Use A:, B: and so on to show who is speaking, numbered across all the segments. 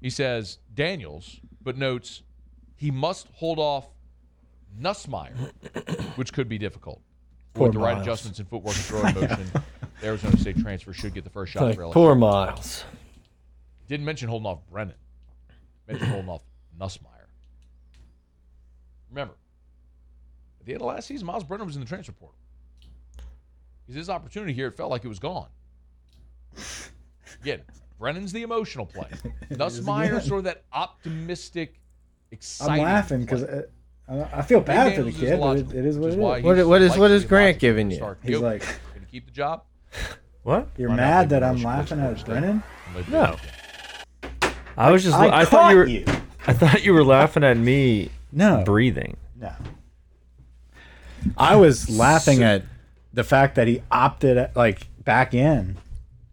A: He says Daniels, but notes he must hold off Nussmeyer, which could be difficult.
B: Poor
A: With the right
B: Miles.
A: adjustments in footwork and throwing motion, the Arizona State transfer should get the first shot
B: Like,
A: for LSU.
B: poor Miles.
A: Didn't mention holding off Brennan. Mentioned holding off Nussmeyer. Remember, at the end of last season, Miles Brennan was in the transfer portal. Because his opportunity here, it felt like it was gone. Again, Brennan's the emotional play. Nussmeyer
C: again.
A: sort of that optimistic,
C: I'm
A: exciting.
C: laughing because
A: play.
C: I, I feel
A: Big
C: bad for the
A: Daniels is
C: kid, but it,
A: logical,
C: it is
A: which
C: what it is.
A: why
C: You're
A: he's
B: What- what is- what is
A: likely
B: Grant
A: the
B: giving you?
A: start.
C: He's
A: Yep.
C: like-
A: Gonna keep the job?
B: What?
A: Why not
C: mad
A: make
C: that
A: a
C: I'm
A: motion,
C: laughing
A: please,
C: at
A: first?
C: Brennan.
A: Maybe
B: No.
A: they can.
B: I was just. I,
C: I,
B: thought
C: caught
B: you
C: you,
B: were. I thought you were laughing at me
C: No,
B: breathing.
C: no. I was laughing at the fact that he opted at, like back in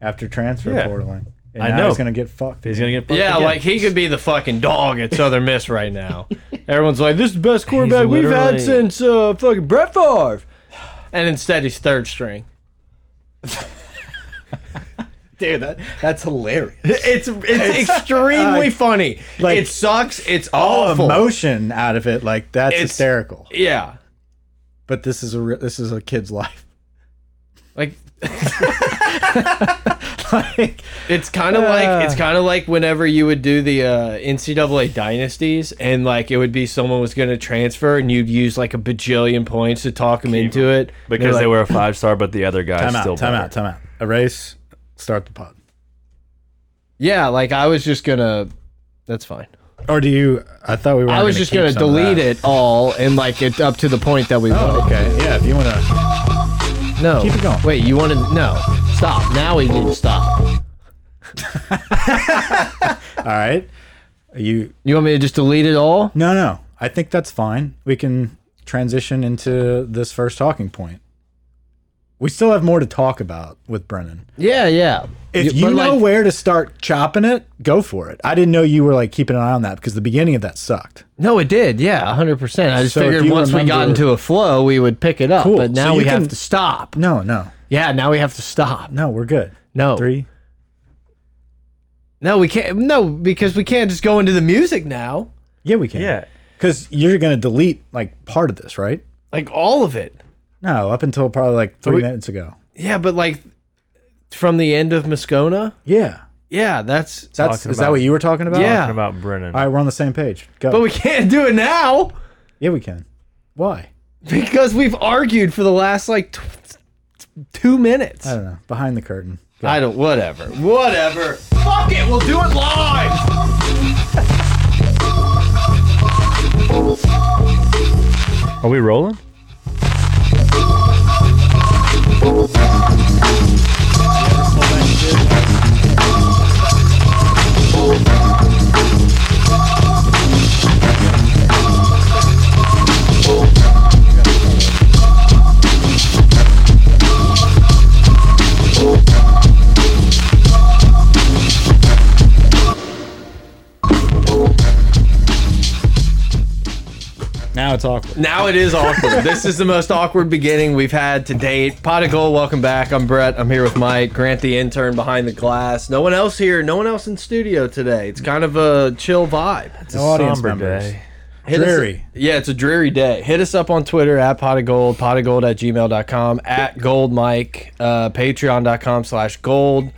C: after transfer
B: Yeah.
C: portaling. And
B: I
C: now
B: know.
C: he's gonna get fucked.
B: He's gonna get. fucked
D: Yeah,
B: again.
D: like he could be the fucking dog at Southern Miss right now. Everyone's like, "This is the best quarterback we've had
B: literally-
D: since uh, fucking Brett Favre," and instead he's third string.
C: dude. That that's hilarious.
D: It's it's extremely funny.
C: like,
D: it sucks. It's
C: All
D: awful.
C: emotion out of it, like that's
D: It's-
C: hysterical.
D: yeah,
C: But this is a re- this is a kid's life.
D: like
C: like,
D: It's kind of like
C: Ah.
D: it's kind of like whenever you would do the uh, NCAA dynasties, and like it would be someone was going to transfer, and you'd use like a bajillion points to talk them into it And they're
B: because they
D: like,
B: were a five star, but the other guy
C: time out,
B: still.
C: time out, time out. Erase. Start the pod.
D: Yeah, like I was just gonna. That's fine.
C: Or do you? I thought we were.
D: I was just gonna delete it Oh, all, and like it up to the point that we wanted.
C: Oh, Okay. Yeah. If you want to.
D: No,
C: keep it going.
D: Wait, you wanted no? Stop. Now we need to stop.
C: All right. Are you?
D: You want me to just delete it all?
C: No, no. I think that's fine. We can transition into this first talking point. We still have more to talk about with Brennan.
D: Yeah, yeah. Yeah,
C: If you
D: but,
C: know
D: like,
C: where to start chopping it, go for it. I didn't know you were like keeping an eye on that because the beginning of that sucked.
D: no, it did. Yeah, hundred percent. I just
C: So if
D: figured
C: you
D: once we got
C: remember-
D: into a flow, we would pick it up.
C: Cool.
D: But
C: So
D: now
C: you
D: we have
C: can-
D: to stop.
C: No, no,
D: Yeah, now we have to stop.
C: no. We're good.
D: No.
C: Three.
D: No, we can't. No, because we can't just go into the music now.
C: Yeah, we can.
B: Yeah.
C: Because you're gonna delete like part of this, right?
D: Like all of it.
C: No, up until probably like three
B: we-
C: minutes ago.
D: Yeah, but like from the end of Moscona.
C: Yeah.
D: Yeah, that's.
C: That's
B: Talking
C: is that
B: about-
C: what you were talking about?
D: Yeah.
B: Talking about Brennan.
C: All right, we're on the same page. Go.
D: But we can't do it now
C: yeah, we can. Why?
D: because we've argued for the last like tw two minutes.
C: I don't know. Behind the curtain.
D: I don't. Whatever. Whatever. Fuck it. We'll do it live.
B: Are we rolling?
C: Now it's awkward.
D: Now it is awkward. this is the most awkward beginning we've had to date. Pot of Gold, welcome back. I'm Brett. I'm here with Mike, Grant the intern behind the glass. No one else here. No one else in studio today. It's kind of a chill vibe.
B: It's a
C: No audience
B: somber
C: members.
B: day.
D: Hit us-
C: Dreary.
D: yeah, it's a dreary day. Hit us up on Twitter at pot of gold, pot of gold at gmail.com, at gold mike, uh, patreon.com slash gold.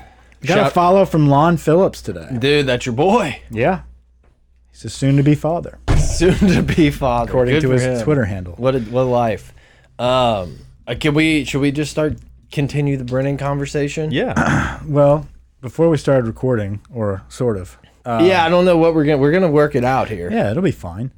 C: Got a
D: Shout-
C: follow from Lon Phillips today.
D: Dude, that's your boy.
C: Yeah. He's a soon to be father,
D: Soon to be father.
C: according
D: Good
C: to
D: for
C: his
D: him.
C: Twitter handle.
D: What a, what a life. Um, uh, can we should we just start continue the Brennan conversation?
B: Yeah.
C: Well, before we started recording, or sort of,
D: yeah, I don't know what we're gonna we're gonna work it out here.
C: yeah, it'll be fine.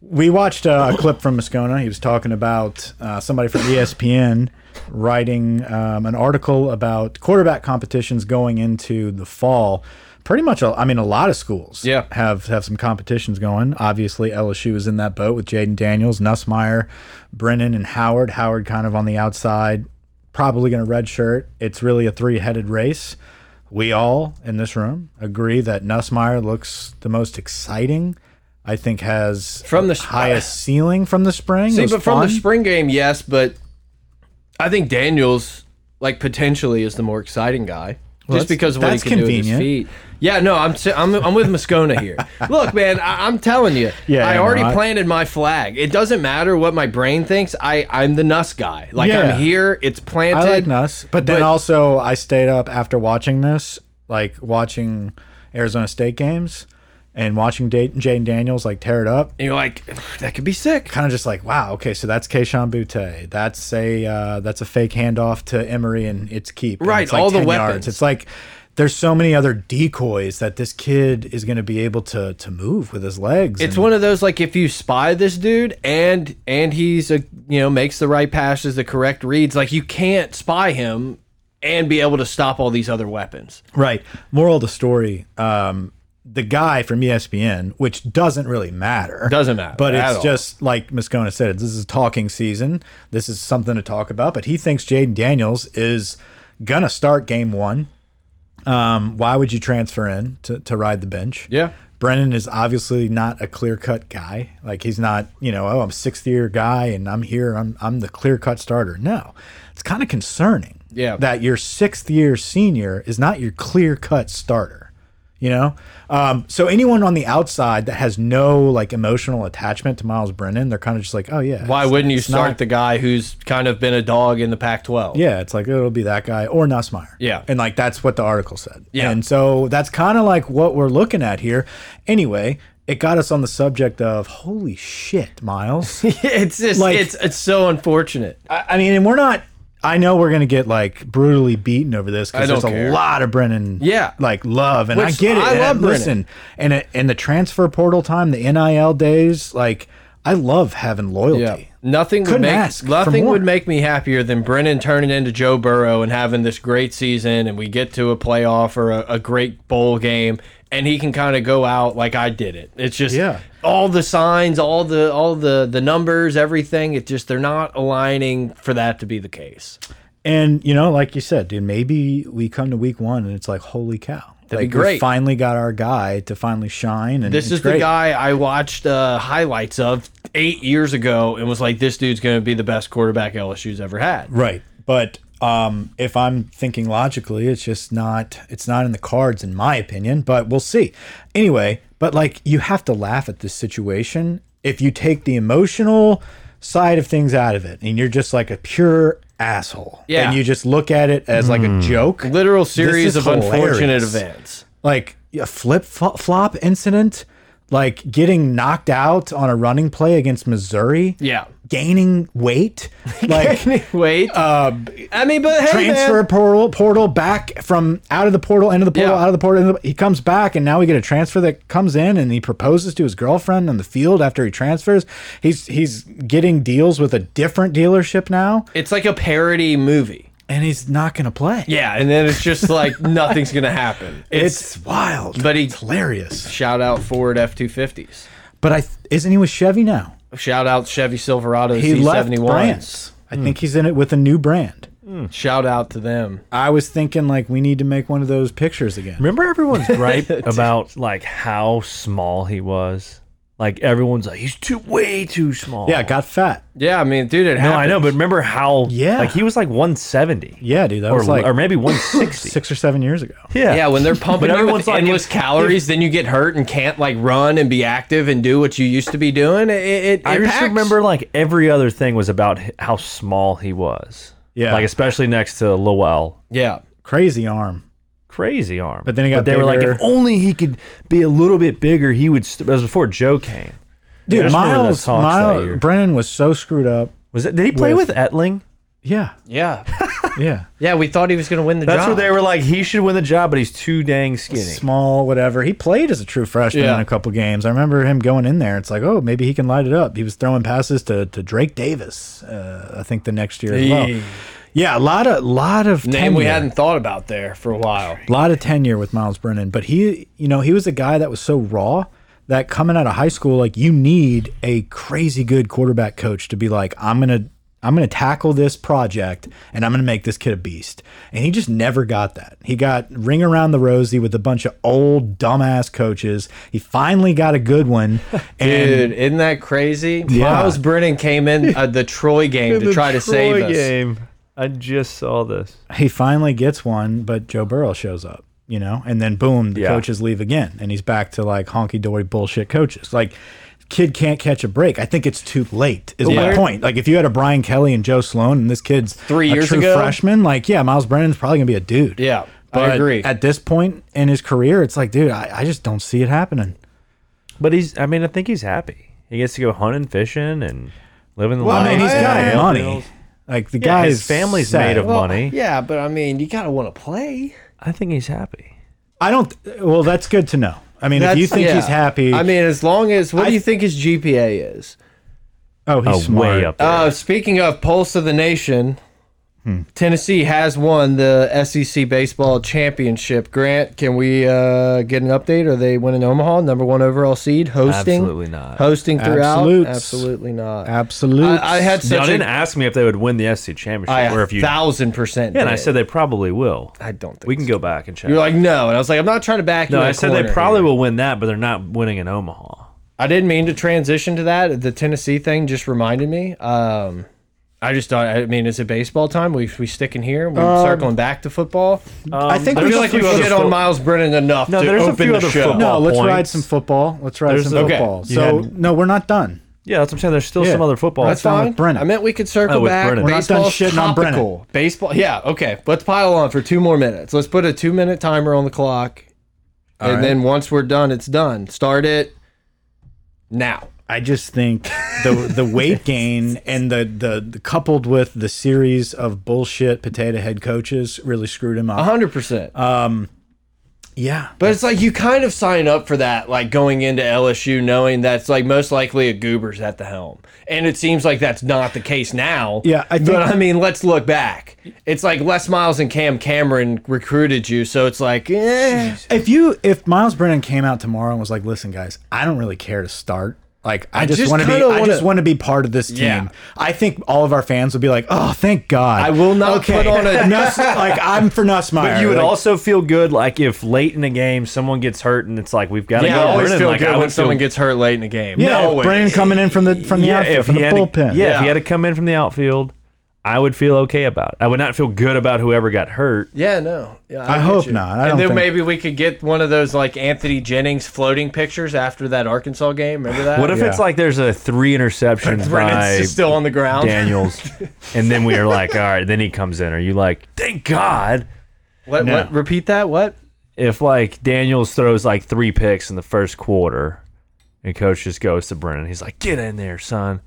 C: We watched uh, a clip from Moscona. He was talking about uh, somebody from ESPN writing um, an article about quarterback competitions going into the fall. Pretty much, a- I mean, a lot of schools
D: Yeah.
C: have have some competitions going. Obviously, LSU is in that boat with Jaden Daniels, Nussmeyer, Brennan, and Howard. Howard kind of on the outside, probably going to redshirt. It's really a three headed race. We all in this room agree that Nussmeyer looks the most exciting. I think has
D: From the sp-
C: highest ceiling from the spring. It
D: See,
C: was
D: but from the
C: fun.
D: spring game, yes, but I think Daniels like potentially is the more exciting guy. just because of what he
C: that's
D: can do with his
C: convenient.
D: feet. Yeah, no, I'm si- I'm, I'm with Moscona here. Look, man, I, I'm telling you,
C: Yeah,
D: I
C: no,
D: already
C: I-
D: planted my flag. It doesn't matter what my brain thinks. I I'm the Nuss guy. Like
C: Yeah.
D: I'm here. It's planted.
C: I like Nuss, but then
D: but-
C: also I stayed up after watching this, like watching Arizona State games and watching Da- Jaden Daniels like tear it up.
D: And you're like, that could be sick.
C: Kind of just like, wow, okay, so that's Keishawn Butte. That's a uh, that's a fake handoff to Emery and it's keep. And
D: Right,
C: it's like
D: all the
C: 10 yards.
D: weapons.
C: It's like there's so many other decoys that this kid is going to be able to to move with his legs.
D: It's
C: and-
D: one of those like if you spy this dude and and he's a you know makes the right passes, the correct reads. Like you can't spy him and be able to stop all these other weapons.
C: Right. Moral of the story. Um, the guy from E ESPN, which doesn't really matter,
D: Doesn't matter
C: But
D: at
C: it's
D: all.
C: just like Moscona said. This is talking season. This is something to talk about. But he thinks Jaden Daniels is gonna start game one. Um, why would you transfer in to, to ride the bench?
D: Yeah.
C: Brennan is obviously not a clear cut guy. Like he's not, you know, oh, I'm sixth year guy and I'm here. I'm I'm the clear cut starter. No, it's kind of concerning.
D: Yeah.
C: that your sixth year senior is not your clear cut starter. You know, um, so anyone on the outside that has no like emotional attachment to Miles Brennan, they're kind of just like, oh yeah,
D: Why
C: it's-
D: wouldn't you
C: it's
D: start
C: not-
D: the guy who's kind of been a dog in the Pac-12?
C: yeah, it's like it'll be that guy or Nussmeyer.
D: Yeah.
C: And like that's what the article said.
D: Yeah.
C: And so that's kind of like what we're looking at here. Anyway, it got us on the subject of holy shit, Miles.
D: it's just
C: Like-
D: it's it's so unfortunate.
C: I, I mean, and we're not I know we're gonna get like brutally beaten over this
D: I
C: because
D: don't
C: there's a
D: care.
C: lot of Brennan
D: Yeah.
C: like love and I
D: Which-
C: get it.
D: I
C: and
D: love Brennan.
C: listen and it, and the transfer portal time, the NIL days, like I love having loyalty.
D: Nothing would
C: Couldn't
D: make
C: ask for
D: nothing
C: more.
D: would make me happier than Brennan turning into Joe Burrow and having this great season and we get to a playoff or a, a great bowl game and he can kind of go out like I did it. It's just
C: Yeah.
D: all the signs, all the all the the numbers, everything, it's just they're not aligning for that to be the case.
C: And you know, like you said, dude, maybe we come to week one and it's like, holy cow, that'd
D: be
C: like,
D: great.
C: We finally got our guy to finally shine. And
D: This
C: it's
D: is the
C: great.
D: guy I watched uh, highlights of 8 years ago and was like this dude's going to be the best quarterback LSU's ever had.
C: right? But um, if I'm thinking logically, it's just not, it's not in the cards, in my opinion. But we'll see. Anyway, but like, you have to laugh at this situation if you take the emotional side of things out of it, and you're just like a pure asshole,
D: Yeah.
C: and you just look at it as like a joke,
D: Literal
C: This
D: series
C: is
D: of unfortunate
C: hilarious
D: events.
C: like a flip fo- flop incident, like getting knocked out on a running play against Missouri,
D: Yeah.
C: gaining weight, like
D: Wait.
B: Um,
D: I mean, but hey,
C: transfer
D: man.
C: portal portal back from out of the portal into the portal
D: Yeah.
C: out of the portal. Into the, he comes back, and now we get a transfer that comes in, and he proposes to his girlfriend on the field after he transfers. He's he's getting deals with a different dealership now,
D: It's like a parody movie.
C: and he's not going to play.
D: Yeah, and then it's just like nothing's gonna happen. It's,
C: It's wild,
D: But he-
C: it's hilarious.
D: shout out Ford F two fifties.
C: But I th- isn't he with Chevy now?
D: Shout out Chevy Silverado C
C: He left
D: seventy ones.
C: brands. I think he's in it with a new brand.
D: Shout out to them.
C: I was thinking like we need to make one of those pictures again.
B: Remember everyone's gripe about like how small he was. Like everyone's like he's too way too small.
C: Yeah, got fat.
D: Yeah, I mean, dude, it
B: no,
D: happened.
B: I know, but remember how?
C: Yeah.
B: like he was like 170.
C: Yeah, dude, that
B: or
C: was like
B: or maybe 160.
C: six or seven years ago.
B: yeah,
D: yeah, when they're pumping
B: But
D: you
B: everyone's
D: with
B: like,
D: endless
B: if-
D: calories, then you get hurt and can't like run and be active and do what you used to be doing. It, it, it
B: I just
D: impacts.
B: remember like every other thing was about h- how small he was.
C: Yeah.
B: like especially next to Lowell.
D: Yeah,
C: Crazy arm.
B: Crazy arm.
C: But then he got
B: they were like,
C: bigger.
B: if only he could be a little bit bigger, he would. St-. That was before Joe came. I
C: Dude,
B: just remember the
C: Miles,
B: talks that year.
C: Miles Brennan was so screwed up.
B: Was it? Did he play with,
C: With-
B: Etling?
C: Yeah.
D: yeah,
C: Yeah.
D: yeah. We thought he was gonna win the
B: That's
D: job.
B: where they were like, he should win the job, but he's too dang skinny.
C: Small, whatever. He played as a true freshman
D: Yeah.
C: in a couple games. I remember him going in there. It's like, oh, maybe he can light it up. He was throwing passes to, to Drake Davis, uh, I think the next year as well.
D: Eee.
C: Yeah, a lot of lot of
D: name we
C: tenure.
D: hadn't thought about there for a while.
C: A lot of tenure with Miles Brennan, but he, you know, he was a guy that was so raw that coming out of high school, like you need a crazy good quarterback coach to be like, I'm gonna, I'm gonna tackle this project and I'm gonna make this kid a beast. And he just never got that. He got ring around the rosy with a bunch of old dumbass coaches. He finally got a good one, and
D: Dude, isn't that crazy?
C: Yeah.
D: Miles Brennan came in uh, the Troy game to try to save us.
E: I just saw this.
C: he finally gets one, but Joe Burrow shows up, you know, and then boom, the
B: Yeah.
C: coaches leave again, and he's back to like honky dory bullshit coaches. Like, kid can't catch a break. I think it's too late. Is my
D: Yeah.
C: point. Like, if you had a Brian Kelly and Joe Sloan, and this kid's three
D: years
C: true
D: ago?
C: freshman, like, yeah, Miles Brennan's probably gonna be a dude.
D: Yeah,
C: But
D: I agree.
C: At this point in his career, it's like, dude, I, I just don't see it happening.
B: But he's, I mean, I think he's happy. He gets to go hunting, fishing, and living the
C: Well,
B: life.
C: I mean, he's
B: and
C: got
B: paying
C: money.
B: bills.
C: Like the
B: Yeah,
C: guy,
B: his
C: is
B: family's
C: set.
B: made of money.
D: Yeah, but I mean, you gotta want to play.
B: I think he's happy.
C: I don't. Well, that's good to know. I mean, if you think
D: yeah.
C: he's happy,
D: I mean, as long as what
C: I-
D: do you think his GPA is?
C: oh, he's
B: Oh,
C: smart.
B: way up there.
D: Uh, speaking of pulse of the nation,
C: Hmm.
D: Tennessee has won the SEC baseball championship. Grant, can we uh, get an update? Are they winning Omaha, number one overall seed, hosting?
B: Absolutely not.
D: Hosting throughout?
C: Absolutes.
D: Absolutely not.
C: Absolute.
D: I, I had
B: Y'all
D: such
B: didn't
D: a,
B: ask me if they would win the SC championship,
D: I
B: or if you.
D: a Oh, thousand percent.
B: yeah, and I
D: did.
B: said they probably will.
D: I don't think
B: We can
D: so.
B: go back and check.
D: You're like no, and I was like, I'm not trying to back you.
B: no,
D: in
B: I
D: a
B: said they
D: corner
B: probably
D: here.
B: will win that, but they're not winning in Omaha.
D: I didn't mean to transition to that. The Tennessee thing just reminded me. Um, I just thought. I mean, is it baseball time? We we sticking here? We're
B: Um,
D: circling back to football.
C: I think
D: Um, I
C: we
D: feel
C: should
D: like we
C: put-
D: shit on Miles Brennan enough
B: No,
D: to
B: there's a
D: open
B: few
D: the
B: other
D: show.
C: No,
B: football-
C: let's ride
B: points.
C: some football. Let's ride
B: There's
C: some
B: the-
D: Okay.
C: football.
B: You
C: So
B: had-
C: no, we're not done.
B: Yeah, that's what I'm saying. There's still
C: Yeah.
B: some other football.
D: That's
C: Let's not
D: fine.
C: with Brennan.
D: I meant we could circle
B: Oh, with
D: back.
B: Brennan. We're
C: not done
D: Baseball's
C: shitting on Brennan.
D: topical. Baseball. Yeah. Okay. Let's pile on for two more minutes. Let's put a two-minute timer on the clock, and
C: right.
D: then once we're done, it's done. Start it now.
C: I just think the the weight gain and the, the the coupled with the series of bullshit potato head coaches really screwed him up.
D: hundred percent.
C: Uh, Yeah.
D: But it's like you kind of sign up for that, like going into LSU knowing that's like most likely a goober's at the helm, and it seems like that's not the case now.
C: Yeah, I think-
D: but I mean, let's look back. It's like Les Miles and Cam Cameron recruited you, so it's like, eh.
C: If you if Miles Brennan came out tomorrow and was like, "Listen, guys, I don't really care to start. Like, I, just,
D: just
C: want to be.
D: kinda
C: I just
D: wanna-
C: want to be part of this team.
D: Yeah.
C: I think all of our fans would be like, "Oh, thank God.
D: I will not put on a-
C: Nuss, like I'm for Nussmeier.
B: But you would
C: Like,
B: also feel good, like if late in the game someone gets hurt and it's like we've got to
D: yeah,
B: go.
D: I always
B: Brennan,
D: feel
B: like,
D: good
B: I
D: when
B: would feel
D: someone gets hurt late in the game.
C: yeah,
D: Always.
C: Brennan coming in from the from the outfield, from the
B: had to-
C: bullpen.
B: yeah, if
D: Yeah.
B: he had to come in from the outfield, I would feel okay about it. I would not feel good about whoever got hurt.
D: Yeah, no. Yeah,
C: I
D: get
C: hope
D: you.
C: not.
D: and
C: I don't
D: then
C: think-
D: maybe we could get one of those like Anthony Jennings floating pictures after that Arkansas game. Remember that?
B: What if it's
C: Yeah.
B: like there's a three
D: Brennan's
B: interceptions by
D: just still on the ground?
B: Daniels, and then we are like, all right, then he comes in. Are you like, thank God?
D: What,
C: No.
D: what? Repeat that. What?
B: If like Daniels throws like three picks in the first quarter, and coach just goes to Brennan, he's like, get in there, son.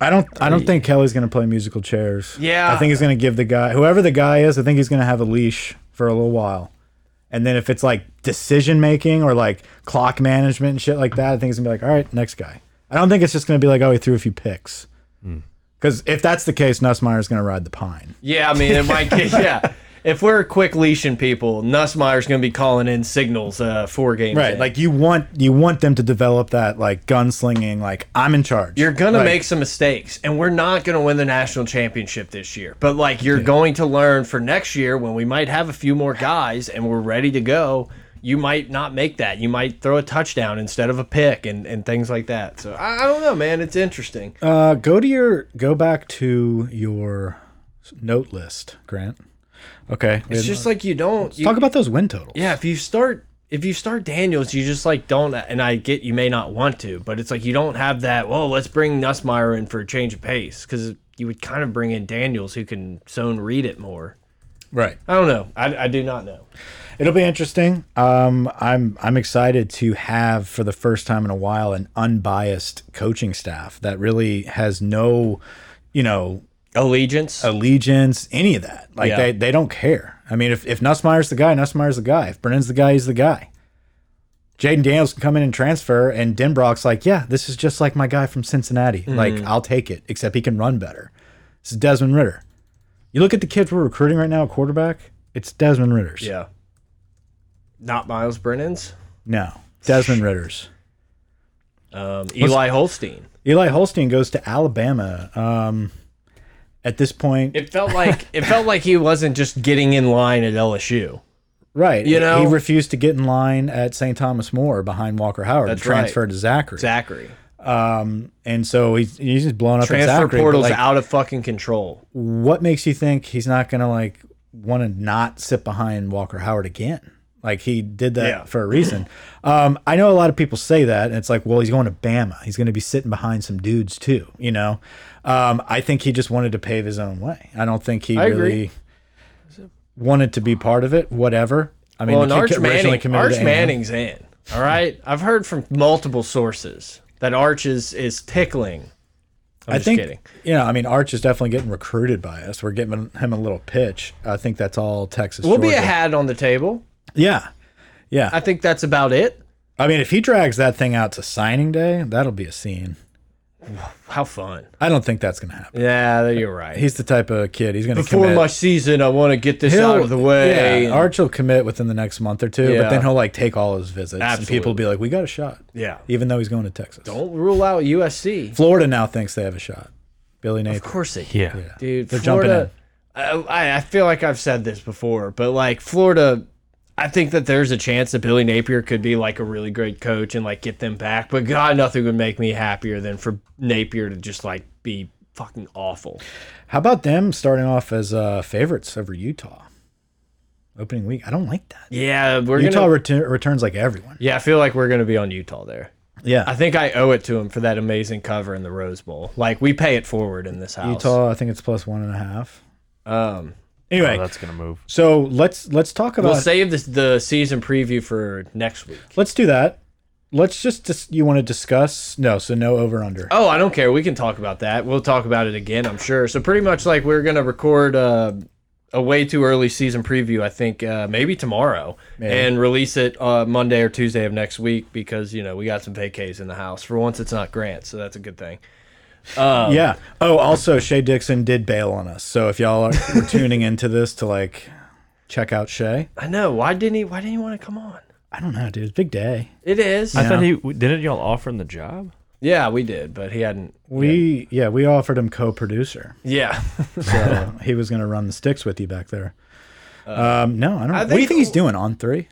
C: I don't. I don't think Kelly's gonna play musical chairs.
D: Yeah.
C: I think he's gonna give the guy, whoever the guy is, I think he's gonna have a leash for a little while, and then if it's like decision making or like clock management and shit like that, I think it's gonna be like, all right, next guy. I don't think it's just gonna be like, oh, he threw a few picks. Because if that's the case, Nussmeier's gonna ride the pine.
D: Yeah, I mean, it might get, yeah. If we're quick leashing people, Nussmeyer's going to be calling in signals uh, four games. in.
C: Like you want you want them to develop that like gunslinging, like I'm in charge.
D: you're going to
C: Like,
D: make some mistakes, and we're not going to win the national championship this year. But, like, you're going to learn for next year when we might have a few more guys and we're ready to go. You might not make that. You might throw a touchdown instead of a pick and, and things like that. So, I, I don't know, man. It's interesting.
C: Uh, go to your go back to your note list, Grant. Okay. we
D: It's
C: had-
D: just like you don't. You,
C: Talk about those win totals.
D: yeah, if you start if you start Daniels, you just like don't. And I get you may not want to, but it's like you don't have that. Well, let's bring Nussmeyer in for a change of pace because you would kind of bring in Daniels who can zone read it more.
C: Right.
D: I don't know. I, I do not know.
C: It'll be interesting. Um, I'm I'm excited to have for the first time in a while an unbiased coaching staff that really has no, you know,
D: Allegiance.
C: allegiance, any of that. Like
D: Yeah.
C: they, they don't care. I mean, if if Nussmeier's the guy, Nussmeier's the guy. If Brennan's the guy, he's the guy. Jaden Daniels can come in and transfer, and Denbrock's like, yeah, this is just like my guy from Cincinnati.
D: Mm-hmm.
C: Like I'll take it, except he can run better. This is Desmond Ritter. You look at the kids we're recruiting right now, at quarterback. It's Desmond Ritter's.
D: yeah. Not Miles Brennan's.
C: No, Desmond Ritter's.
D: Um, Eli Holstein.
C: Eli Holstein goes to Alabama. Um, at this point,
D: It felt like it felt like he wasn't just getting in line at LSU.
C: right?
D: you know-
C: he refused to get in line at St. Thomas More behind Walker Howard and
D: That's right.
C: transferred to Zachary.
D: Zachary.
C: Um, and so he's he's just blown up. in
D: Transfer
C: Zachary, but,
D: portal's
C: like,
D: out of fucking control.
C: What makes you think he's not gonna like want to not sit behind Walker Howard again? Like he did that
D: Yeah.
C: for a reason. Um, I know a lot of people say that, and it's like, well, he's going to Bama. He's going to be sitting behind some dudes too. You know, um, I think he just wanted to pave his own way. I don't think he
D: I agree.
C: really wanted to be part of it. Whatever. I mean,
D: Well,
C: the
D: and
C: kid
D: Arch
C: originally
D: Manning,
C: committed
D: Arch
C: to A&M.
D: Manning's in. All right, I've heard from multiple sources that Arch is is tickling. I'm
C: I
D: just
C: think
D: kidding.
C: you know. I mean, Arch is definitely getting recruited by us. We're giving him a little pitch. I think that's all Texas.
D: We'll be a
C: Georgia.
D: hat on the table.
C: yeah, yeah.
D: I think that's about it.
C: I mean, if he drags that thing out to signing day, that'll be a scene.
D: How fun.
C: I don't think that's gonna happen.
D: Yeah, you're right.
C: He's the type of kid. He's gonna
D: Before
C: commit.
D: my season, I want to get this
C: He'll-
D: out of the way.
C: Yeah, Arch will commit within the next month or two,
D: Yeah.
C: but then he'll like take all his visits, and
D: Absolutely.
C: people will be like, "We got a shot,"
D: yeah.
C: even though he's going to Texas.
D: Don't rule out USC.
C: Florida now thinks they have a shot. Billy
D: Of
C: Napier.
D: course they do.
B: Yeah.
D: Dude,
C: They're jumping
D: Florida. I, I- I feel like I've said this before, but like Florida, I think that there's a chance that Billy Napier could be like a really great coach and like get them back. But God, nothing would make me happier than for Napier to just like be fucking awful.
C: How about them starting off as uh, favorites over Utah? Opening week. I don't like that.
D: Yeah, we're
C: Utah
D: gonna.
C: retu- returns like everyone.
D: yeah, I feel like we're gonna be on Utah there.
C: Yeah.
D: I think I owe it to him for that amazing cover in the Rose Bowl. Like we pay it forward in this house.
C: Utah, I think it's plus one and a half.
D: Um,
C: Anyway,
B: that's gonna move.
C: so let's let's talk about
D: we'll save this, the season preview for next week.
C: let's do that. Let's just dis- you want to discuss no, so no over under.
D: Oh, I don't care. We can talk about that. We'll talk about it again, I'm sure. So pretty much like we're gonna record uh, a way too early season preview. I think uh, maybe tomorrow and release it uh, Monday or Tuesday of next week because you know we got some vacays in the house. For once, it's not Grant, so that's a good thing.
C: yeah. Oh, also Shay Dixon did bail on us. So if y'all are were tuning into this to like check out Shay,
D: I know. Why didn't he? Why didn't he want to come on?
C: I don't know, dude. It's a big day.
D: It is.
B: I thought he didn't y'all offer him the job.
D: Yeah, we did, but he hadn't.
C: We yeah, we offered him co-producer,
D: Yeah. Uh,
C: so he was gonna run the sticks with you back there. um, no, I don't. what do you
D: think-
C: think he's doing on three?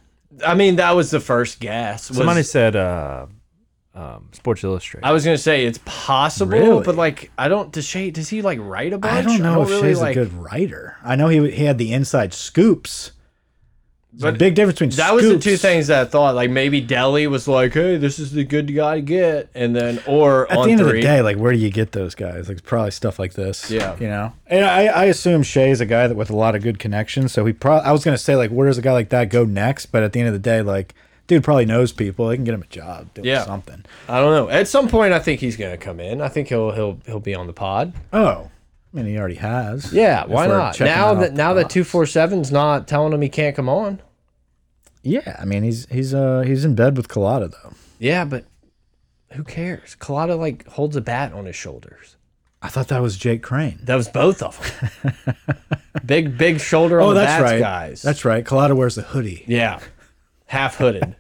D: I mean, that was the first guess. was-
B: Somebody said uh, um, Sports Illustrated.
D: I was gonna say it's possible,
C: Really?
D: but like I don't. Does Shay? Does he like write a bunch?
C: I don't know if
D: really,
C: Shay's
D: like-
C: a good writer. I know he he had the inside scoops. There's a big difference between
D: That was the
C: scoops-
D: two things that I thought. Like maybe Delhi was like, "Hey, this is the good guy to get," and then or
C: At
D: on
C: the end of
D: three.
C: the day, like where do you get those guys? Like it's probably stuff like this.
D: Yeah.
C: you know. And I, I assume Shay's a guy that with a lot of good connections. So he probably I was gonna say like where does a guy like that go next? But at the end of the day, like dude probably knows people. They can get him a job, doing
D: Yeah.
C: something.
D: I don't know. At some point, I think he's gonna come in. I think he'll he'll he'll be on the pod.
C: Oh, I mean he already has.
D: Yeah,
C: If
D: why
C: we're
D: not?
C: checking
D: Now
C: off
D: that
C: the
D: now that
C: box.
D: two four seven's not telling him he can't come on.
C: yeah, I mean he's he's uh he's in bed with Colada though.
D: Yeah, but who cares? Colada like holds a bat on his shoulders.
C: I thought that was Jake Crane.
D: That was both of them. big big shoulder on
C: Oh,
D: the
C: that's
D: bats
C: right.
D: guys.
C: That's right. Colada wears a hoodie.
D: yeah, half hooded.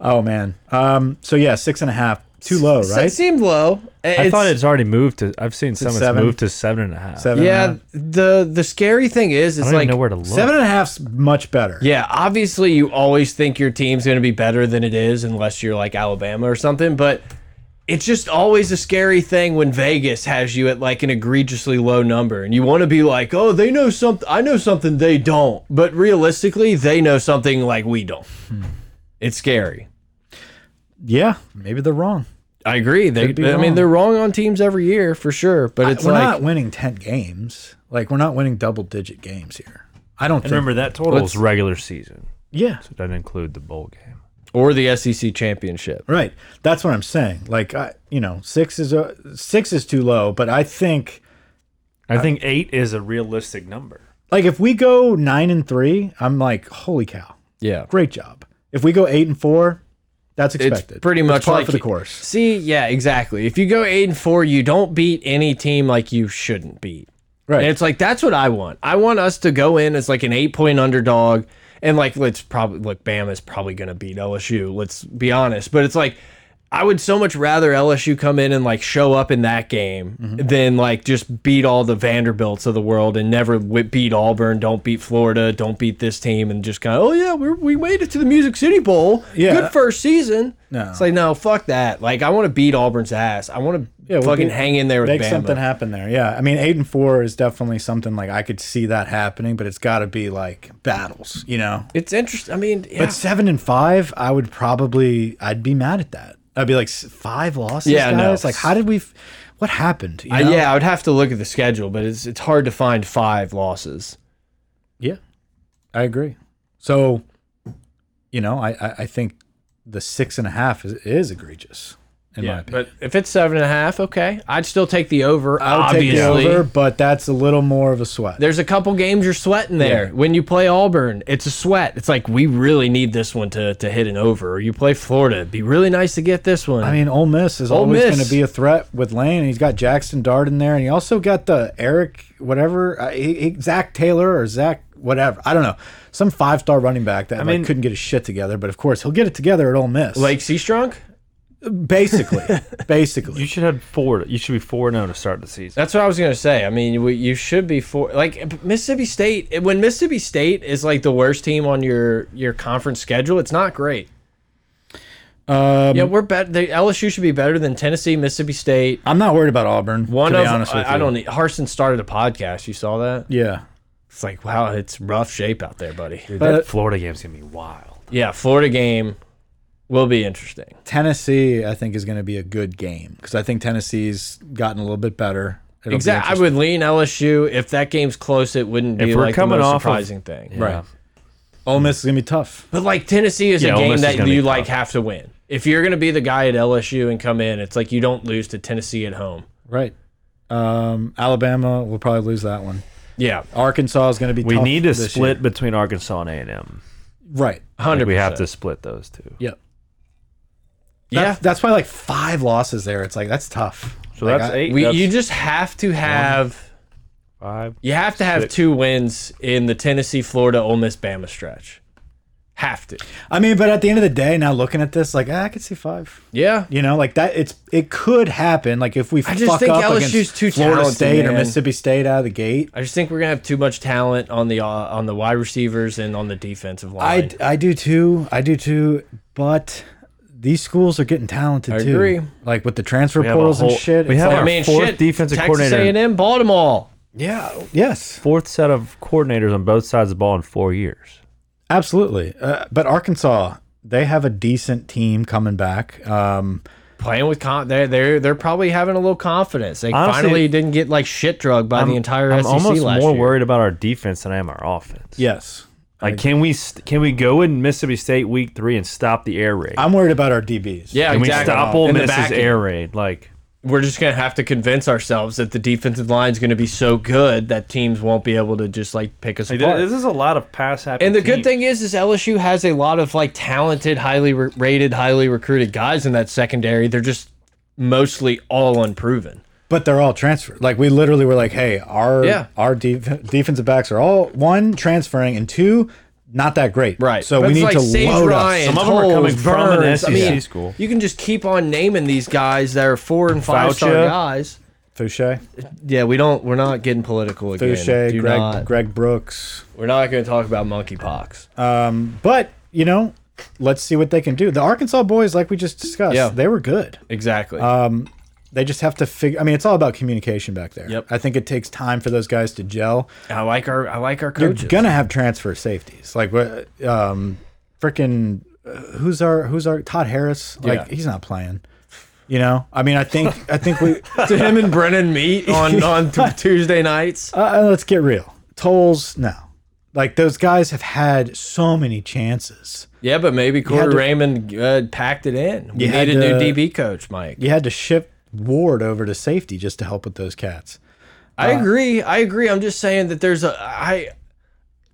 C: Oh man. Um. So yeah, six and a half. Too low,
D: So It
C: right?
D: seemed low.
B: I thought it's already moved to. I've seen some it's
C: seven?
B: moved to seven and a half.
C: Seven. and a
D: Yeah,
C: half.
D: the the scary thing is,
B: Uh, I
D: it's
B: don't
D: like
B: even know where to look.
C: Seven and a half's much better.
D: Yeah, obviously you always think your team's going to be better than it is unless you're like Alabama or something, but it's just always a scary thing when Vegas has you at like an egregiously low number and you want to be like, "Oh, they know something I know something they don't." But realistically, they know something like we don't.
B: Hmm.
D: It's scary.
C: Yeah, maybe they're wrong.
D: I agree. They,
C: be
D: I mean,
C: wrong.
D: they're wrong on teams every year for sure, but it's
C: we're
D: like
C: not winning 10 games. Like, we're not winning double digit games here. I don't
B: And
C: think.
B: remember that total
D: Let's-
B: is regular season.
C: yeah.
B: It doesn't include the bowl game.
D: or the SEC championship.
C: Right. That's what I'm saying. Like, I, you know, six is a, six is too low, but I think,
B: I think eight is a realistic number.
C: like, if we go nine and three, I'm like, holy cow,
D: Yeah.
C: great job. If we go eight and four, that's
D: It's
C: expected.
D: pretty
C: It's
D: much
C: par
D: like
C: for the course.
D: See, yeah, exactly. If you go eight and four, you don't beat any team like you shouldn't beat.
C: Right.
D: And it's like that's what I want. I want us to go in as like an eight point underdog, and like let's probably look, Bama's probably going to beat LSU. Let's be honest, but it's like I would so much rather LSU come in and like show up in that game
C: Mm-hmm.
D: than like just beat all the Vanderbilts of the world and never wi- beat Auburn, don't beat Florida, don't beat this team, and just kind of oh yeah, we're, we made it to the Music City Bowl,
C: Yeah.
D: good first season.
C: No.
D: It's like no, fuck that. Like I want to beat Auburn's ass. I want to
C: Yeah, we'll
D: fucking
C: be-
D: hang in there with
C: Make
D: Bama.
C: something happen there. Yeah. I mean, eight and four is definitely something like I could see that happening, but it's got to be like battles, you know?
D: It's interesting. I mean, yeah.
C: But seven and five, I would probably, I'd be mad at that. I'd be like, "S- five losses,
D: Yeah, no.
C: guys? Like, how did we, f what happened? You
D: I-
C: know?
D: yeah, I would have to look at the schedule, but it's it's hard to find five losses.
C: Yeah, I agree. So, you know, I, I, I think the six and a half is, is egregious in my opinion.
D: but if it's seven and a half, okay, I'd still take the over.
C: I would take
D: obviously,
C: the over, but that's a little more of a sweat.
D: there's a couple games you're sweating there. When you play Auburn, it's a sweat. It's like we really need this one to to hit an over. Or you play Florida, it'd be really nice to get this one.
C: I mean, Ole Miss is
D: Ole
C: always
D: Miss.
C: going to be a threat with Lane. and He's got Jackson Dart in there, and he also got the Eric, whatever, uh, he, he- Zach Taylor or Zach, whatever. I don't know. Some five star running back that like,
B: mean-
C: couldn't get his shit together, but of course, he'll get it together at Ole Miss.
D: Lake Seastrunk.
C: basically. basically.
B: You should have four. You should be four zero to start the season.
D: That's what I was gonna say. I mean, we, you should be for like Mississippi State. When Mississippi State is like the worst team on your your conference schedule, it's not great.
C: Um,
D: Yeah, we're better. The LSU should be better than Tennessee, Mississippi State.
C: I'm not worried about Auburn.
D: One
C: to
D: of
C: be honest with
D: I, I
C: you.
D: don't. Need, Harson started a podcast. You saw that?
C: Yeah.
D: It's like wow, it's rough shape out there, buddy.
C: But
B: Florida game's gonna be wild.
D: Yeah, Florida game will be interesting.
C: Tennessee, I think, is going to be a good game because I think Tennessee's gotten a little bit better. It'll be
D: Exactly. I would lean LSU. If that game's close, it wouldn't be
B: If we're
D: like
B: coming
D: the most
B: off of-
D: surprising thing.
C: Right. Ole Miss is going to be tough.
D: But like Tennessee is a
B: Yeah, Ole
D: game
B: Miss is
D: that
B: gonna be
D: you
B: tough.
D: like have to win. If you're gonna be the guy at LSU and come in, it's like you don't lose to Tennessee at home.
C: Right. Um, Alabama will probably lose that one.
D: Yeah,
C: Arkansas is going to be
B: We
C: tough
B: need to
C: this
B: split
C: year.
B: between Arkansas and A and M.
C: Right.
D: hundred.
B: We have to split those two.
C: Yep.
D: Yeah,
C: That's, that's why like five losses there. It's like that's tough.
B: So
C: Like,
B: that's
C: I-
B: eight.
D: we,
B: that's
D: you just have to have.
B: five.
D: You have to have
B: Six.
D: two wins in the Tennessee, Florida, Ole Miss, Bama stretch. Have to.
C: I mean, but at the end of the day, now looking at this, like ah, I could see five.
D: Yeah.
C: You know, like that. It's it could happen. Like if we
D: I just
C: fuck
D: think
C: up
D: LSU's
C: against
D: too
C: Florida
D: talented,
C: State or
D: man.
C: Mississippi State out of the gate.
D: I just think we're gonna have too much talent on the uh, on the wide receivers and on the defensive
C: I,
D: line.
C: I do too. I do too. But these schools are getting talented
D: I
C: too.
D: agree.
C: Like with the transfer
B: have a
C: portals and
B: whole-
C: shit.
B: we
C: it's
B: have
C: like-
B: our fourth defensive coordinator-
D: Texas A&M, Baltimore.
C: yeah. Yes.
B: Fourth set of coordinators on both sides of the ball in four years.
C: Absolutely. Uh, but Arkansas, they have a decent team coming back. Um,
D: Playing with con, they're they're they're probably having a little confidence. They
B: Honestly,
D: finally didn't get like shit drugged by the entire
B: I'm
D: SEC
B: almost
D: last
B: more
D: year.
B: worried about our defense than I am our offense.
C: yes.
B: Like, can we st- can we go in Mississippi State week three and stop the air raid?
C: I'm worried about our DBs.
D: Yeah,
B: Can
D: exactly.
B: we stop Ole
D: In the
B: Miss's
D: back end.
B: air raid? Like,
D: We're just gonna have to convince ourselves that the defensive line is gonna be so good that teams won't be able to just like pick us apart.
B: this is a lot of pass happy.
D: And the good thing is, is LSU has a lot of like talented, highly re rated, highly recruited guys in that secondary. They're just mostly all unproven.
C: But they're all transferred. Like we literally were like, hey, our
D: Yeah.
C: our def defensive backs are all one transferring and two not that great. So
D: But
C: we
D: it's
C: need
D: like
C: to
D: Sage
C: load
D: Ryan,
C: up.
B: Some of them are coming
D: Toles,
B: from an
D: Burns. I
B: SEC
D: mean,
B: school.
D: You can just keep on naming these guys that are four and five star
B: Fauci.
D: guys.
C: Fouché,
D: Yeah, we don't. We're not getting political again.
C: Fouché,
D: Do
C: Greg,
D: not-
C: Greg Brooks.
D: We're not going to talk about monkeypox.
C: Um, but you know, let's see what they can do. The Arkansas boys, like we just discussed,
D: Yeah.
C: they were good.
D: exactly.
C: uh, They just have to figure. I mean, it's all about communication back there.
D: Yep.
C: I think it takes time for those guys to gel.
D: I like our. I like our
C: You're
D: coaches.
C: gonna have transfer safeties, like what, um, freaking uh, who's our who's our Todd Harris? Like
D: Yeah.
C: he's not playing. You know, I mean, I think I think we uh,
D: to him and Brennan meet on on t- Tuesday nights.
C: uh, let's get real. Tolls no, like those guys have had so many chances.
D: Yeah, but maybe
C: had
D: Corey
C: to-
D: Raymond uh, packed it in. We
C: You
D: need
C: had
D: a new
C: to-
D: DB coach, Mike.
C: You had to shift Ward over to safety just to help with those cats.
D: I
C: Uh,
D: agree. I agree. I'm just saying that there's a I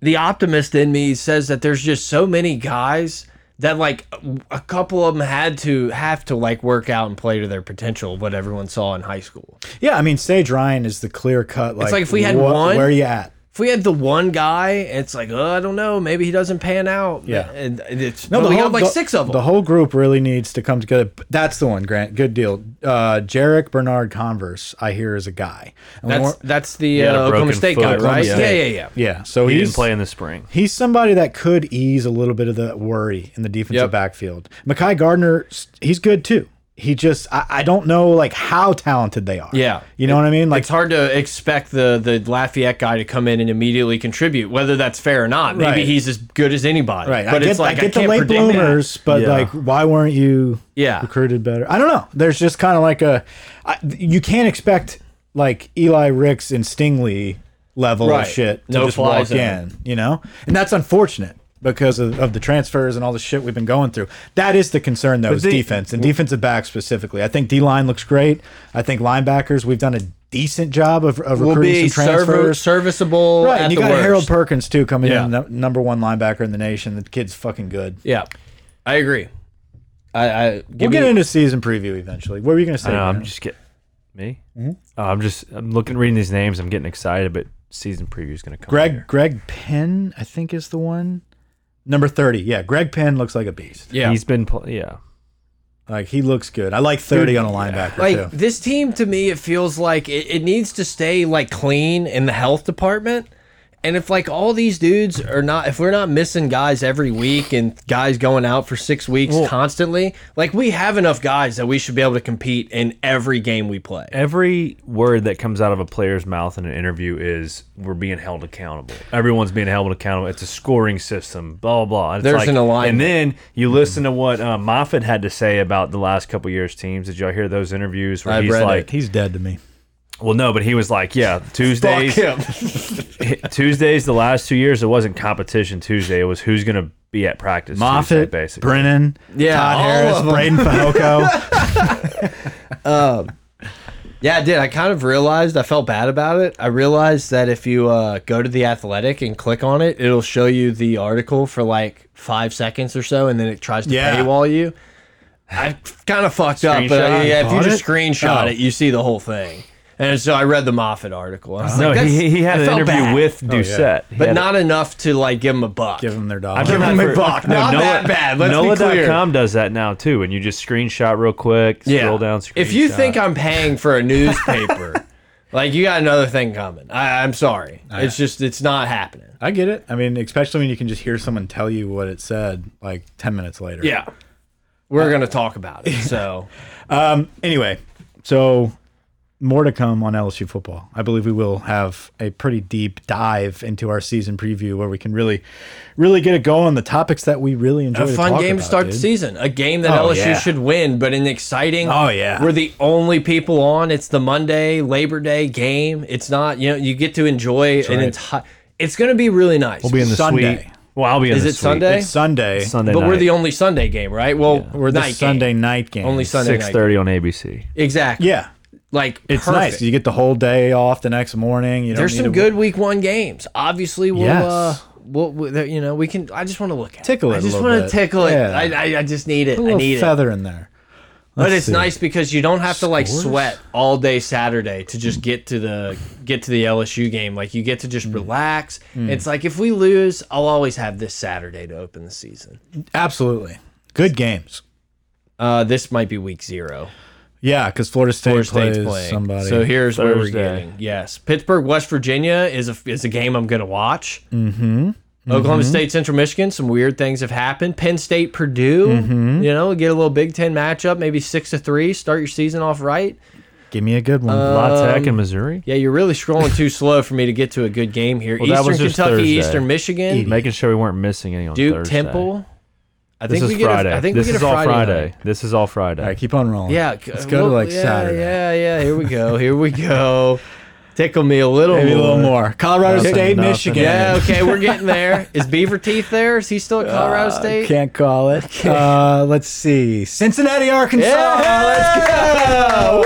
D: the optimist in me says that there's just so many guys that like a couple of them had to have to like work out and play to their potential what everyone saw in high school.
C: Yeah, I mean, Sage Ryan is the clear cut. Like,
D: like if we had one-
C: where are you at?
D: if we had the one guy, it's like, oh, I don't know, maybe he doesn't pan out.
C: Yeah.
D: and and it's no, we got like six of them.
C: The whole group really needs to come together. But That's the one, Grant. Good deal. Uh, Jarek Bernard Converse, I hear, is a guy. And when
D: that's
C: we're-
D: that's the
B: had a
D: uh, Oklahoma
B: broken
D: State
B: foot,
D: guy,
B: Oklahoma
D: right?
C: State.
D: Yeah, yeah, yeah.
C: yeah. So
B: He
C: he's
B: didn't play in the spring.
C: He's somebody that could ease a little bit of the worry in the defensive
D: Yep.
C: backfield. Makai Gardner, s- he's good too. He just, I, I don't know like how talented they are.
D: Yeah.
C: You know what I mean? Like,
D: It's hard to expect the the Lafayette guy to come in and immediately contribute, whether that's fair or not. Maybe
C: Right.
D: he's as good as anybody.
C: right.
D: But
C: I get,
D: it's like
C: I get the
D: can't
C: late
D: predict that.
C: bloomers, but
B: Yeah.
C: like, why weren't you
D: Yeah.
C: recruited better? I don't know. There's just kind of like a, I, you can't expect like Eli Ricks and Stingley level
D: Right.
C: of shit to
D: No
C: just
D: fly
C: walk
D: zone.
C: in, you know? And that's unfortunate. Because of, of the transfers and all the shit we've been going through, that is the concern though is
B: they-
C: defense and defensive back specifically. I think D line looks great. I think linebackers we've done a decent job of, of
D: Will
C: recruiting
D: be
C: some
D: serv
C: transfers.
D: serviceable.
C: right,
D: at
C: and you
D: the
C: got
D: worst.
C: Harold Perkins too coming
D: Yeah.
C: in, the number one linebacker in the nation. The kid's fucking good.
D: Yeah, I agree. I, I
C: We'll
D: give
C: get
D: me-
C: into season preview eventually. What were you gonna say?
B: No, I'm
C: Grant?
B: just get me. Oh, I'm just I'm looking reading these names. I'm getting excited, but season preview is gonna come.
C: Greg
B: later.
C: Greg Penn, I think is the one. Number thirty. Yeah, Greg Penn looks like a beast.
D: yeah.
B: he's been pl- yeah.
C: Like he looks good. I like thirty on a linebacker
D: like
C: too.
D: this team to me it feels like it, it needs to stay like clean in the health department and if like all these dudes are not if we're not missing guys every week and guys going out for six weeks constantly like we have enough guys that we should be able to compete in every game we play
B: Every word that comes out of a player's mouth in an interview is we're being held accountable. Everyone's being held accountable. It's a scoring system. Blah blah. blah. It's
D: There's
B: like-
D: an alignment.
B: And then you listen to what uh, Moffitt had to say about the last couple years' teams. Did y'all hear those interviews where
D: I've
B: he's
D: read it.
B: like,
C: He's dead to me.
B: well, no, but he was like, yeah, Tuesdays. Tuesdays, the last two years, it wasn't competition Tuesday. It was who's going to be at practice. Tuesday,
C: Moffitt,
B: basically.
C: Brennan,
D: Yeah, all
C: Todd
D: of
C: Harris,
D: 'em.
C: Braden Fajoko.
D: Yeah, I did. I kind of realized I felt bad about it. I realized that if you uh, go to the Athletic and click on it, it'll show you the article for like five seconds or so, and then it tries to
C: Yeah.
D: paywall you. I kind of fucked up, but uh,
B: Screenshot?
D: yeah, if you
C: Caught
D: just
C: it?
D: screenshot
C: Oh.
D: it, you see the whole thing. And so I read the Moffat article. I was
B: No,
D: like, that's-
B: he, he had
D: I
B: an
D: felt
B: interview
D: bad.
B: with Doucette. He
D: Oh, but
B: had-
D: not enough to like give him a buck.
C: Give him their dollar.
B: I've done that
D: him a
B: for-
D: buck. Not that bad, let's be clear.
B: NOLA.com does that now too, and you just screenshot real quick, scroll down. Screenshot.
D: If you think I'm paying for a newspaper, like you got another thing coming. I, I'm sorry. It's just it's not happening.
C: I get it. I mean, especially when you can just hear someone tell you what it said like ten minutes later.
D: Yeah. We're
C: Uh,
D: going to talk about it. So,
C: Um, anyway, so more to come on LSU football. I believe we will have a pretty deep dive into our season preview where we can really, really get it going. The topics that we really enjoy.
D: a
C: to
D: fun
C: talk
D: game to
C: about,
D: start
C: dude.
D: the season. A game that
C: Oh,
D: LSU
C: yeah.
D: should win, but an exciting.
C: Oh, yeah.
D: We're the only people on. It's the Monday, Labor Day game. It's not, you know, you get to enjoy an entire. It's going to be really nice.
B: we'll be in the
C: Sunday.
B: suite. Well, I'll be in
D: Is
B: the
D: it
B: suite.
D: Sunday?
C: It's Sunday.
B: Sunday
D: but we're
B: night,
D: the only Sunday game, right? Well,
C: We're the
D: night game.
C: Sunday night game.
D: Only Sunday night.
B: 6:30 on ABC.
D: Exactly.
C: Yeah,
D: Like,
C: it's
D: perfect.
C: nice. You get the whole day off the next morning. You don't
D: There's
C: need
D: some
C: to-
D: good week one games. Obviously, we'll,
C: Yes.
D: uh, we'll, we'll, you know, we can. I just want to look at
C: Tickle
D: it.
C: it
D: I
C: a
D: just
C: little
D: wanna
C: bit.
D: tickle it.
C: Yeah.
D: I, I, I just need it.
C: A
D: I
C: little
D: need it.
C: feather in there.
D: but
C: Let's
D: it's
C: see.
D: nice because you don't have to like sweat all day Saturday to just get to the get to the LSU game. Like you get to
C: Hmm.
D: just relax. It's like if we lose, I'll always have this Saturday to open the season.
C: Absolutely, good games.
D: Uh, this might be week zero.
C: Yeah, because Florida State
D: Florida State's
C: plays
D: playing.
C: somebody.
D: So here's where we're
B: Thursday.
D: getting. Yes, Pittsburgh, West Virginia is a is a game I'm going to watch. Mm-hmm.
C: Mm-hmm.
D: Oklahoma State, Central Michigan. Some weird things have happened. Penn State, Purdue.
C: Mm-hmm.
D: You know, get a little Big Ten matchup, maybe six to three. Start your season off right.
C: Give me a good one.
D: Uh, Um,
B: La Tech in Missouri.
D: Yeah, you're really scrolling too slow for me to get to a good game here.
B: Well, that
D: Eastern
B: was just
D: Kentucky,
B: Thursday.
D: Eastern Michigan,
B: Making sure we weren't missing any on
D: Duke,
B: Thursday.
D: Temple. I
B: This
D: think we
B: is
D: get.
B: Friday.
D: A, I think
B: this
D: we get
B: is
D: a
B: all
D: Friday.
B: Friday.
D: night.
B: This is all Friday.
C: All right, keep on rolling.
D: Yeah,
C: let's go to like
D: yeah,
C: Saturday.
D: Yeah, yeah. Here we go. Here we go. Tickle me a little.
C: Maybe a
D: more.
C: little more. Colorado
B: Nothing,
C: State,
B: nothing.
C: Michigan.
D: Yeah, okay, we're getting there. Is Beaver Teeth there? Is he still
B: Uh,
D: at Colorado State?
C: Can't call it. Uh, let's see. Cincinnati, Arkansas.
D: Yeah, let's go.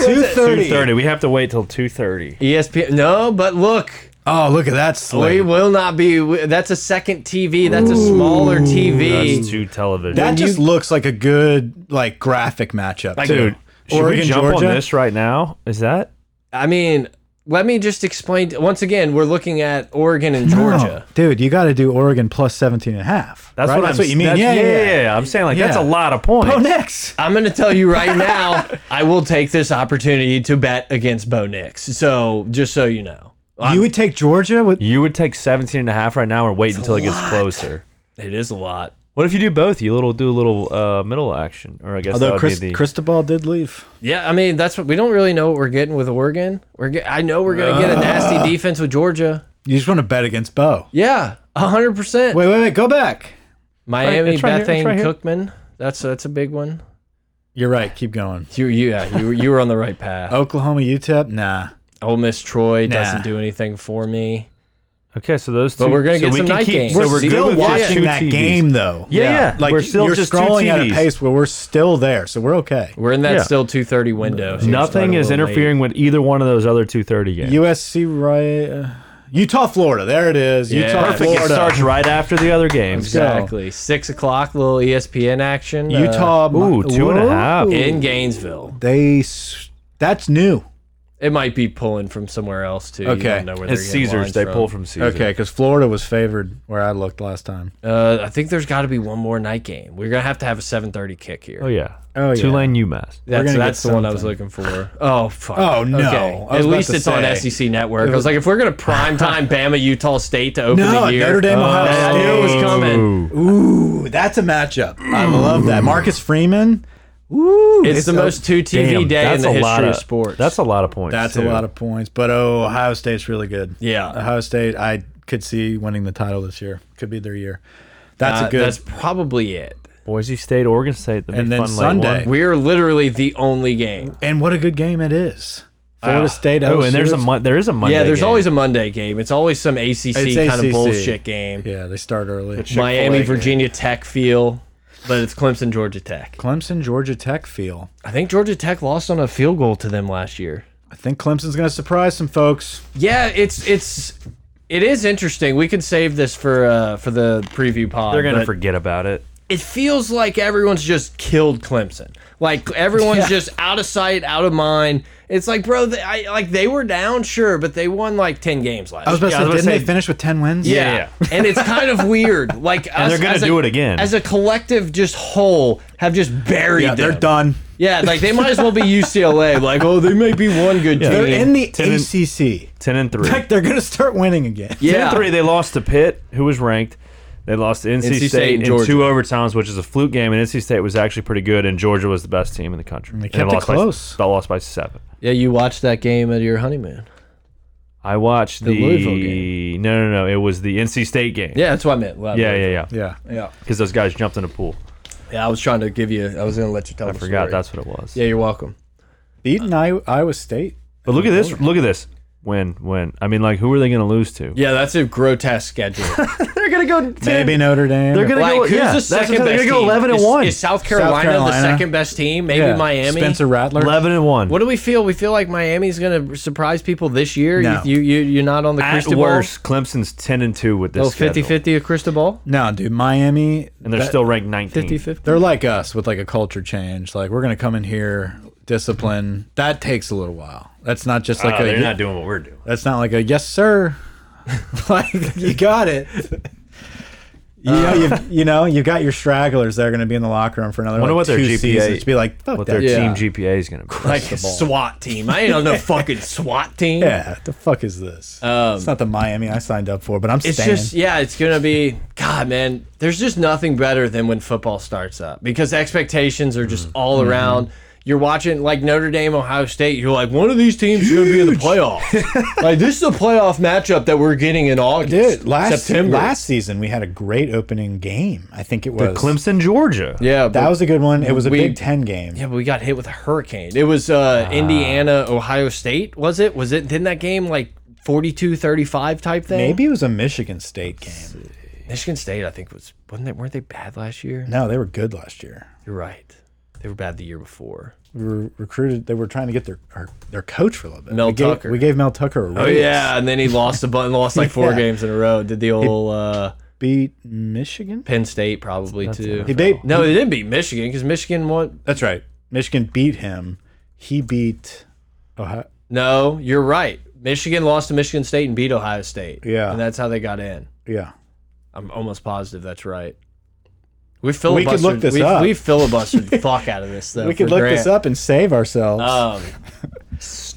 D: E
C: Two
B: Two
C: thirty.
B: thirty. We have to wait till two thirty.
D: ESPN. No, but look,
C: Oh, look at that
D: we
C: slate.
D: will not be. we- That's a second TV. That's a smaller TV.
B: That's two television.
C: that
D: you-
C: just looks like a good like graphic matchup,
D: Like,
C: too.
D: dude,
B: Should we jump on this right now? Is that
D: I mean, let me just explain. to- Once again, we're looking at Oregon and
C: No,
D: Georgia.
C: Oh, dude, you got to do Oregon plus 17 and a half.
B: That's
C: right?
B: what
C: that's
B: I'm,
C: what you mean.
B: that's-
C: Yeah, yeah, Oh, yeah.
B: yeah, I'm saying like that's a
C: Yeah.
B: lot of points.
C: Bo Nix.
D: I'm going to tell you right now, I will take this opportunity to bet against Bo Nix. So just so you know,
C: you would take Georgia with
B: You would take 17 and a half right now or wait until it gets closer.
D: it is a lot.
B: What if you do both? You little do a little uh, middle action, or I guess that
C: Although
B: would
C: Chris,
B: be the
C: Cristobal did leave.
D: Yeah, I mean that's what we don't really know what we're getting with Oregon. We're get, I know we're going to get
B: Uh.
D: a nasty defense with Georgia.
C: You just want to bet against Bo.
D: Yeah, hundred percent.
C: Wait, wait, wait. Go back.
D: Miami
B: it's right here, it's
D: Bethane
B: right here.
D: Cookman. That's that's a big one.
C: You're right. Keep going.
D: You you- yeah you you were on the right path.
B: Oh.
C: Oklahoma, UTEP. Nah.
D: Ole Miss Troy
C: Nah.
D: doesn't do anything for me.
B: okay. So those two.
D: But we're gonna
B: so
D: get
B: we
D: some
B: can
D: night
B: keep-
D: games.
B: So
D: We're
B: we're good
C: still
B: with just two
C: watching that
B: TVs.
C: game though.
B: Yeah, yeah.
C: Like
B: we're still
C: you're
B: just two
C: scrolling at a
B: TVs.
C: pace where we're still there, so we're okay.
D: We're in that
B: Yeah.
D: still two thirty window. so we start
B: Nothing
D: a
B: is
D: little late.
B: interfering with either one of those other two thirty games.
C: USC, right? uh, Utah, Florida. There it is.
D: Yeah.
C: Utah,
D: Perfect.
B: Perfect. It
C: Florida.
B: starts right after the other games.
C: go.
D: Exactly. Six o'clock, little E ESPN action. uh,
C: Utah.
B: Ooh, two and a
C: Whoa.
B: half.
D: in Gainesville.
C: They. s- That's new.
D: It might be pulling from somewhere else too. You
C: Okay.
D: don't know where
B: It's
D: they're getting
B: Caesars.
D: lines
B: They
D: from.
B: pull from Caesars.
C: Okay, because Florida was favored where I looked last time.
D: Uh, I think there's got to be one more night game. We're gonna have to have a seven thirty kick here.
B: Oh yeah.
C: Oh, yeah.
B: Tulane UMass.
D: That's,
C: gonna get
D: that's the one I was
C: something.
D: looking for. Oh fuck.
C: Oh, no.
D: Okay.
C: I was
D: At
C: about
D: least
C: to
D: it's
C: say.
D: on SEC Network. I was like, if we're gonna prime time Bama Utah State to open
C: No,
D: the year, uh,
C: Notre Dame, Ohio
D: that
C: State.
D: deal was coming.
B: Ooh.
C: Ooh, that's a matchup. I love that. Marcus Freeman. Ooh,
D: It's, the
C: a-
D: most two TV
B: Damn,
D: day in
B: that's
D: the
B: a
D: history
B: lot
D: of
B: of
D: sports.
B: That's a lot of points.
C: That's a lot of points, but oh, Ohio State's really good.
D: Yeah.
C: Ohio State, I could see winning the title this year. Could be their year. That's
D: Uh,
C: a good.
D: That's probably it.
B: Boise State, Oregon State, that'd be
C: And then
B: fun late
C: Sunday.
B: one.
D: We're literally the only game.
C: and what a good game it is. Florida State.
B: Oh, and there's a
C: LSU.
B: mon- there is a Monday.
D: yeah, there's
B: game.
D: always a Monday game. It's always some ACC
C: It's
D: kind of
C: ACC.
D: bullshit game.
C: Yeah, they start early.
D: Miami, Virginia Tech feel, but it's Clemson, Georgia Tech.
C: Clemson, Georgia Tech feel.
D: I think Georgia Tech lost on a field goal to them last year.
C: I think Clemson's going to surprise some folks.
D: Yeah, it's it's it is interesting. We can save this for uh for the preview pod.
B: They're gonna
D: but
B: forget about it.
D: it feels like everyone's just killed Clemson. Like everyone's just out of sight, out of mind. It's like, bro, they, I like they were down, sure, but they won like ten games last.
C: I was
D: year.
C: about
B: Yeah, I
C: to say,
B: was
C: didn't
B: about to
C: they
B: say-
C: finish with ten wins?
D: Yeah. and it's kind of weird. Like, us,
B: they're gonna
D: as a-
B: do it again.
D: as a collective, just whole have just buried.
C: yeah, they're
D: them.
C: done.
D: Yeah, like they might as well be UCLA. Like, oh, they may be one good team.
C: They're in the
B: Ten and-
C: ACC.
B: Ten and three.
C: Like they're going to start winning again.
B: Ten
D: yeah,
B: and three. They lost to Pitt, who was ranked. They lost to NC,
D: NC State
B: State,
D: and
B: in
D: Georgia.
B: two overtimes, which is a fluke game. And NC State was actually pretty good, and Georgia was the best team in the country. And They
C: kept it
B: lost by-
C: close.
B: They lost by seven.
D: yeah. You watched that game at your honeymoon.
B: I watched the,
D: Louisville game.
B: No, no, no. It was the NC State game.
D: Yeah, that's what I meant. Well,
B: yeah, yeah, yeah.
C: Yeah.
D: yeah,
B: Because those guys jumped in a pool.
D: yeah. I was trying to give you. I was gonna let you tell.
B: I forgot that's what it was.
D: Yeah, you're welcome.
C: Beating I Iowa State.
B: But look at this. Look at this. When, when? I mean, like, who are they going to lose to?
D: Yeah, that's a grotesque schedule.
B: They're going to go.
C: Maybe Notre Dame.
B: They're gonna
D: like,
B: go.
D: who's
B: yeah,
D: the
B: that's what
D: second
B: I'm saying,
D: best?
B: They're gonna go
D: team?
B: eleven and
D: Is-
B: one.
D: Is South Carolina, the
C: Carolina.
D: second best team? Maybe
C: Yeah.
D: Miami.
C: Spencer Rattler.
B: Eleven and one.
D: What do we feel? We feel like Miami's going to surprise people this year.
C: No.
D: You, you, you, are not on the
B: At
D: crystal
B: worst, Clemson's ten and two with this.
D: ball. Oh, 50
B: schedule.
D: 50 of crystal ball?
C: No, dude, Miami.
B: and they're
C: that-
B: still ranked 19.
D: 50 50.
C: They're like us with like a culture change. Like we're gonna come in here, discipline. That takes a little while. That's not just like
B: Oh,
C: a.
B: they're not doing what we're doing.
C: that's not like a yes sir. like you got it. You
D: Uh,
C: know, you've, you know, you've got your stragglers that are going to be in the locker room for another
B: Wonder
C: like,
B: what their
C: two
B: GPA
C: seasons. Be like, fuck
B: What
C: that.
B: their
C: Yeah.
D: Yeah.
B: team GPA is going to be.
D: Like SWAT team. I ain't on no fucking SWAT team.
C: the fuck is this? it's not the Miami I signed up for, but I'm
D: Um, It's
C: staying.
D: just, yeah, it's going to be, God, man, there's just nothing better than when football starts up because expectations are just all
C: Mm-hmm.
D: around. You're watching like Notre Dame, Ohio State. You're like, one of these teams is going to be in the playoffs. like, this is a playoff matchup that we're getting in August.
C: Dude, last
D: September.
C: last season we had a great opening game. I think it was
B: Clemson, Georgia.
D: yeah, but-
C: That was a good one. It was a
D: We-
C: Big Ten game.
D: Yeah, but we got hit with a hurricane. It was uh,
C: Ah.
D: Indiana, Ohio State, was it? Was it didn't that game like 42-35 type thing?
C: Maybe it was a Michigan State game.
D: Michigan State, I think was wasn't they weren't they bad last year?
C: No, they were good last year.
D: You're right. They were bad the year before.
C: We were recruited. They were trying to get their our, their coach for a little bit.
D: Mel
C: we gave,
D: Tucker.
C: We gave Mel Tucker a raise.
D: Oh yeah, and then he lost a button, lost like four
C: Yeah.
D: games in a row. Did the old uh,
C: beat Michigan.
D: Penn State probably too.
C: He beat.
D: no, they didn't beat Michigan because Michigan won.
C: That's right. Michigan beat him. He beat. Ohio.
D: No, you're right. Michigan lost to Michigan State and beat Ohio State.
C: Yeah.
D: and that's how they got in.
C: Yeah.
D: I'm almost positive that's right. We
C: We
D: filibustered.
C: could look this
D: we,
C: up.
D: we filibustered the fuck out of this though.
C: we could
D: for
C: look this
D: Grant.
C: up and save ourselves.
D: Um,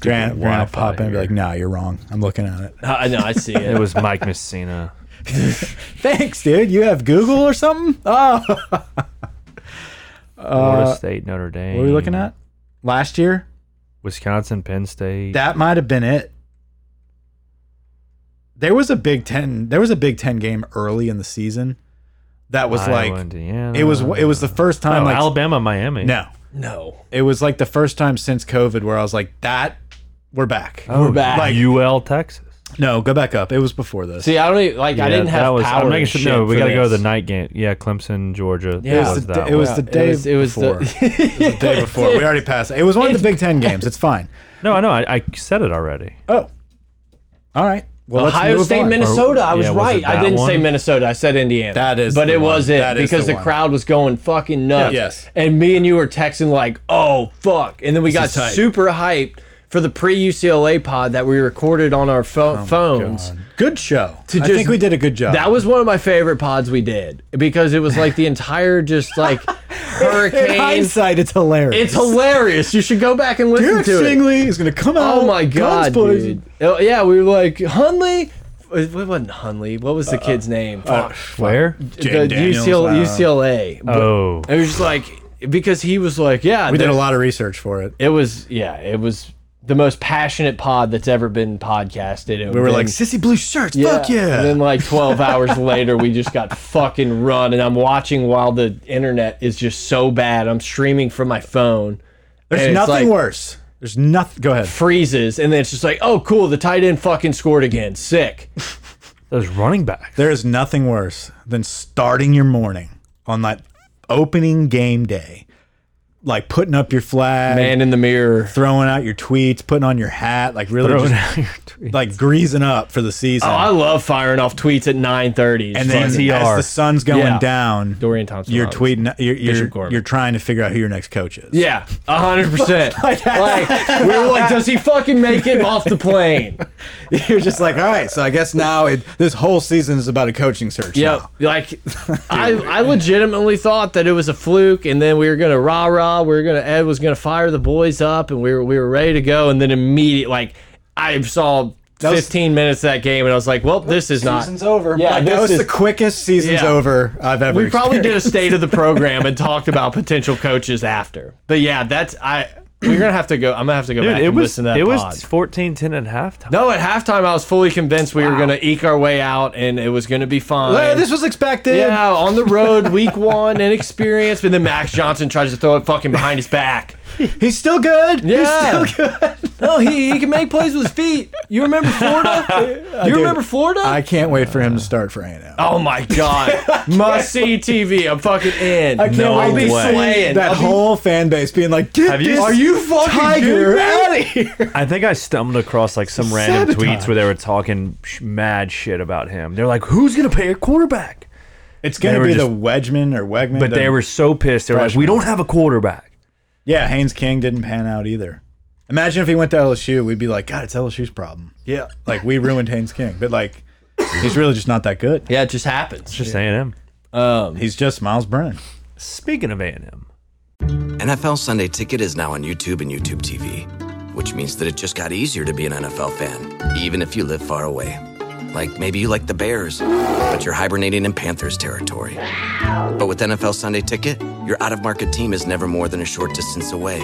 C: Grant, Grant will
B: Wi-Fi
C: pop in and be
B: here.
C: like, nah, you're wrong. I'm looking at it.
D: I know. I see
B: It
D: it.
B: was Mike Messina.
C: Thanks, dude. You have Google or something? Oh. what
B: Florida State, Notre Dame.
C: Uh, were we looking at? Last year?
B: Wisconsin, Penn State.
C: That might have been it. There was a Big Ten. There was a Big Ten game early in the season that was
B: Iowa,
C: like
B: Indiana.
C: it was. It was the first
B: No,
D: Oh,
C: time. like,
B: Alabama, Miami.
C: no,
D: no.
C: it was like the first time since COVID where I was like, "That we're back."
B: Oh,
D: We're back.
B: Like, UL, Texas.
C: No, go back up. It was before this.
D: See, I don't even like. I didn't
B: that
D: have
B: was,
D: power.
B: I'm making
D: and
B: sure.
D: shit
B: No, we
D: for
B: got to go to the
D: this.
B: night game. Yeah, Clemson, Georgia.
D: Yeah. It was
B: that
C: the
B: was
C: da- it was the
B: that one.
C: day
D: It was, it was
C: before.
D: the.
C: the day before. We already passed. It was one of the Big Ten games. It's fine.
B: No, I know. I, I said it already.
C: Oh, all right. Well, let's
D: Ohio
C: move
D: State,
C: on.
D: Minnesota. I was
B: yeah, was
D: right.
B: it
D: I
B: that
D: didn't say
B: one?
D: Minnesota. I said Indiana.
C: That is
D: but
C: the
D: it
C: one.
D: was it
C: That is
D: because
C: the
D: the,
C: one.
D: crowd was going fucking nuts.
C: Yes.
D: and me and you were texting like, "Oh fuck!" And then we
C: is
D: got
C: hype.
D: super hyped for the pre UCLA pod that we recorded on our pho- phones.
C: Good show.
D: To
C: Oh I
D: just-
C: think we did a good job.
D: That was one of my favorite pods we did because it was like the entire just like
C: in
D: hurricane.
C: hindsight, it's hilarious.
D: It's hilarious. You should go back and listen
C: Derek
D: to it.
C: Stingley is going to come out.
D: Oh my
C: guns
D: god,
C: blazing.
D: dude. Oh, Yeah, we were like Hunley. It wasn't Hunley. What was the kid's name? Fuck.
B: Where?
D: the
C: Jaden Uh, Daniels,
D: UCLA.
C: uh,
D: UCLA.
B: Oh.
D: It was just like because he was like, yeah,
C: We did a
D: there-
C: lot of research for it.
D: It was yeah, it was the most passionate pod that's ever been podcasted. It
C: We were
D: then-
C: like, sissy blue shirts,
D: yeah.
C: fuck yeah.
D: And then like 12 hours later, we just got fucking run. And I'm watching while the internet is just so bad. I'm streaming from my phone. and
C: There's
D: it's
C: nothing
D: like,
C: worse. There's nothing. Go ahead.
D: freezes and then it's just like oh cool the tight end fucking scored again sick
B: Those running backs.
C: There is nothing worse than starting your morning on that opening game day, like putting up your flag,
D: man in the mirror
C: throwing out your tweets, putting on your hat, like really
B: Throwing
C: just,
B: out your tweet.
C: like greasing up for the season.
D: oh, i love firing off tweets at 9.30
C: and then as
B: TR.
C: the sun's going
D: Yeah.
C: down,
D: dorian thompson
C: you're
D: Robinson.
C: tweeting, you're
D: Bishop
C: you're,
D: Gorman.
C: you're trying to figure out who your next coach is.
D: Yeah, a hundred percent. Like we were like, does he fucking make it off the plane?
C: You're just like, all right, so I guess now it, this whole season is about a coaching search.
D: Yep.
C: now.
D: Like I, I legitimately thought that it was a fluke, and then we were gonna rah rah. We were gonna Ed was gonna fire the boys up, and we were we were ready to go, and then immediately like I saw.
C: was-
D: 15 minutes of that game, and I was like, "Well, this is not."
C: over.
D: Yeah,
C: like, that
D: this
C: was
D: is-
C: the quickest season's
D: Yeah.
C: over I've ever.
D: We probably did a
C: experienced.
D: state of the program and talked about potential coaches after. But yeah, that's I. We're gonna have to go. I'm gonna have to go
B: Dude,
D: back
B: it
D: and
B: was
D: listen to that.
B: it
D: pod.
B: was 14 10 at halftime.
D: No, at halftime, I was fully convinced we were going to eke our way out and it was going to be fine.
C: Hey, this was expected.
D: yeah, on the road, week one, inexperienced, but then Max Johnson tries to throw it fucking behind his back.
C: He's still good.
D: Yeah.
C: He's still good.
D: No, he, he can make plays with his feet. You remember Florida? You
C: do.
D: remember Florida?
C: I can't wait for him to start for A&M.
D: oh my God. Must see TV. I'm fucking in. I
C: can't
D: I'll
C: wait
D: be
C: to
B: way.
D: slaying.
C: That
D: I'll be-
C: whole fan base being like, "Get
B: Have you-
C: this
B: Are
D: you fucking kidding
C: tiger
D: me?
C: out of here!"
B: I think I stumbled across like some random
C: Sabotage.
B: tweets where they were talking sh mad shit about him. They're like, "Who's gonna pay a quarterback?"
C: It's gonna
B: They were
C: be
B: just-
C: the Wedgman or Wegman.
B: But
C: the-
B: they were so pissed. They were like,
C: freshman.
B: "We don't have a quarterback."
C: yeah. Haynes King didn't pan out either. Imagine if he went to LSU, we'd be like, "God, it's LSU's problem."
D: Yeah.
C: Like we ruined Haynes King, but like he's really just not that good.
D: Yeah, it just happens.
B: Just A&M.
D: Um,
C: He's just Miles Brennan.
B: Speaking of A&M,
E: NFL Sunday Ticket is now on YouTube and YouTube TV, which means that it just got easier to be an NFL fan, even if you live far away. Like maybe you like the Bears, but you're hibernating in Panthers territory. But with NFL Sunday Ticket, your out of market team is never more than a short distance away,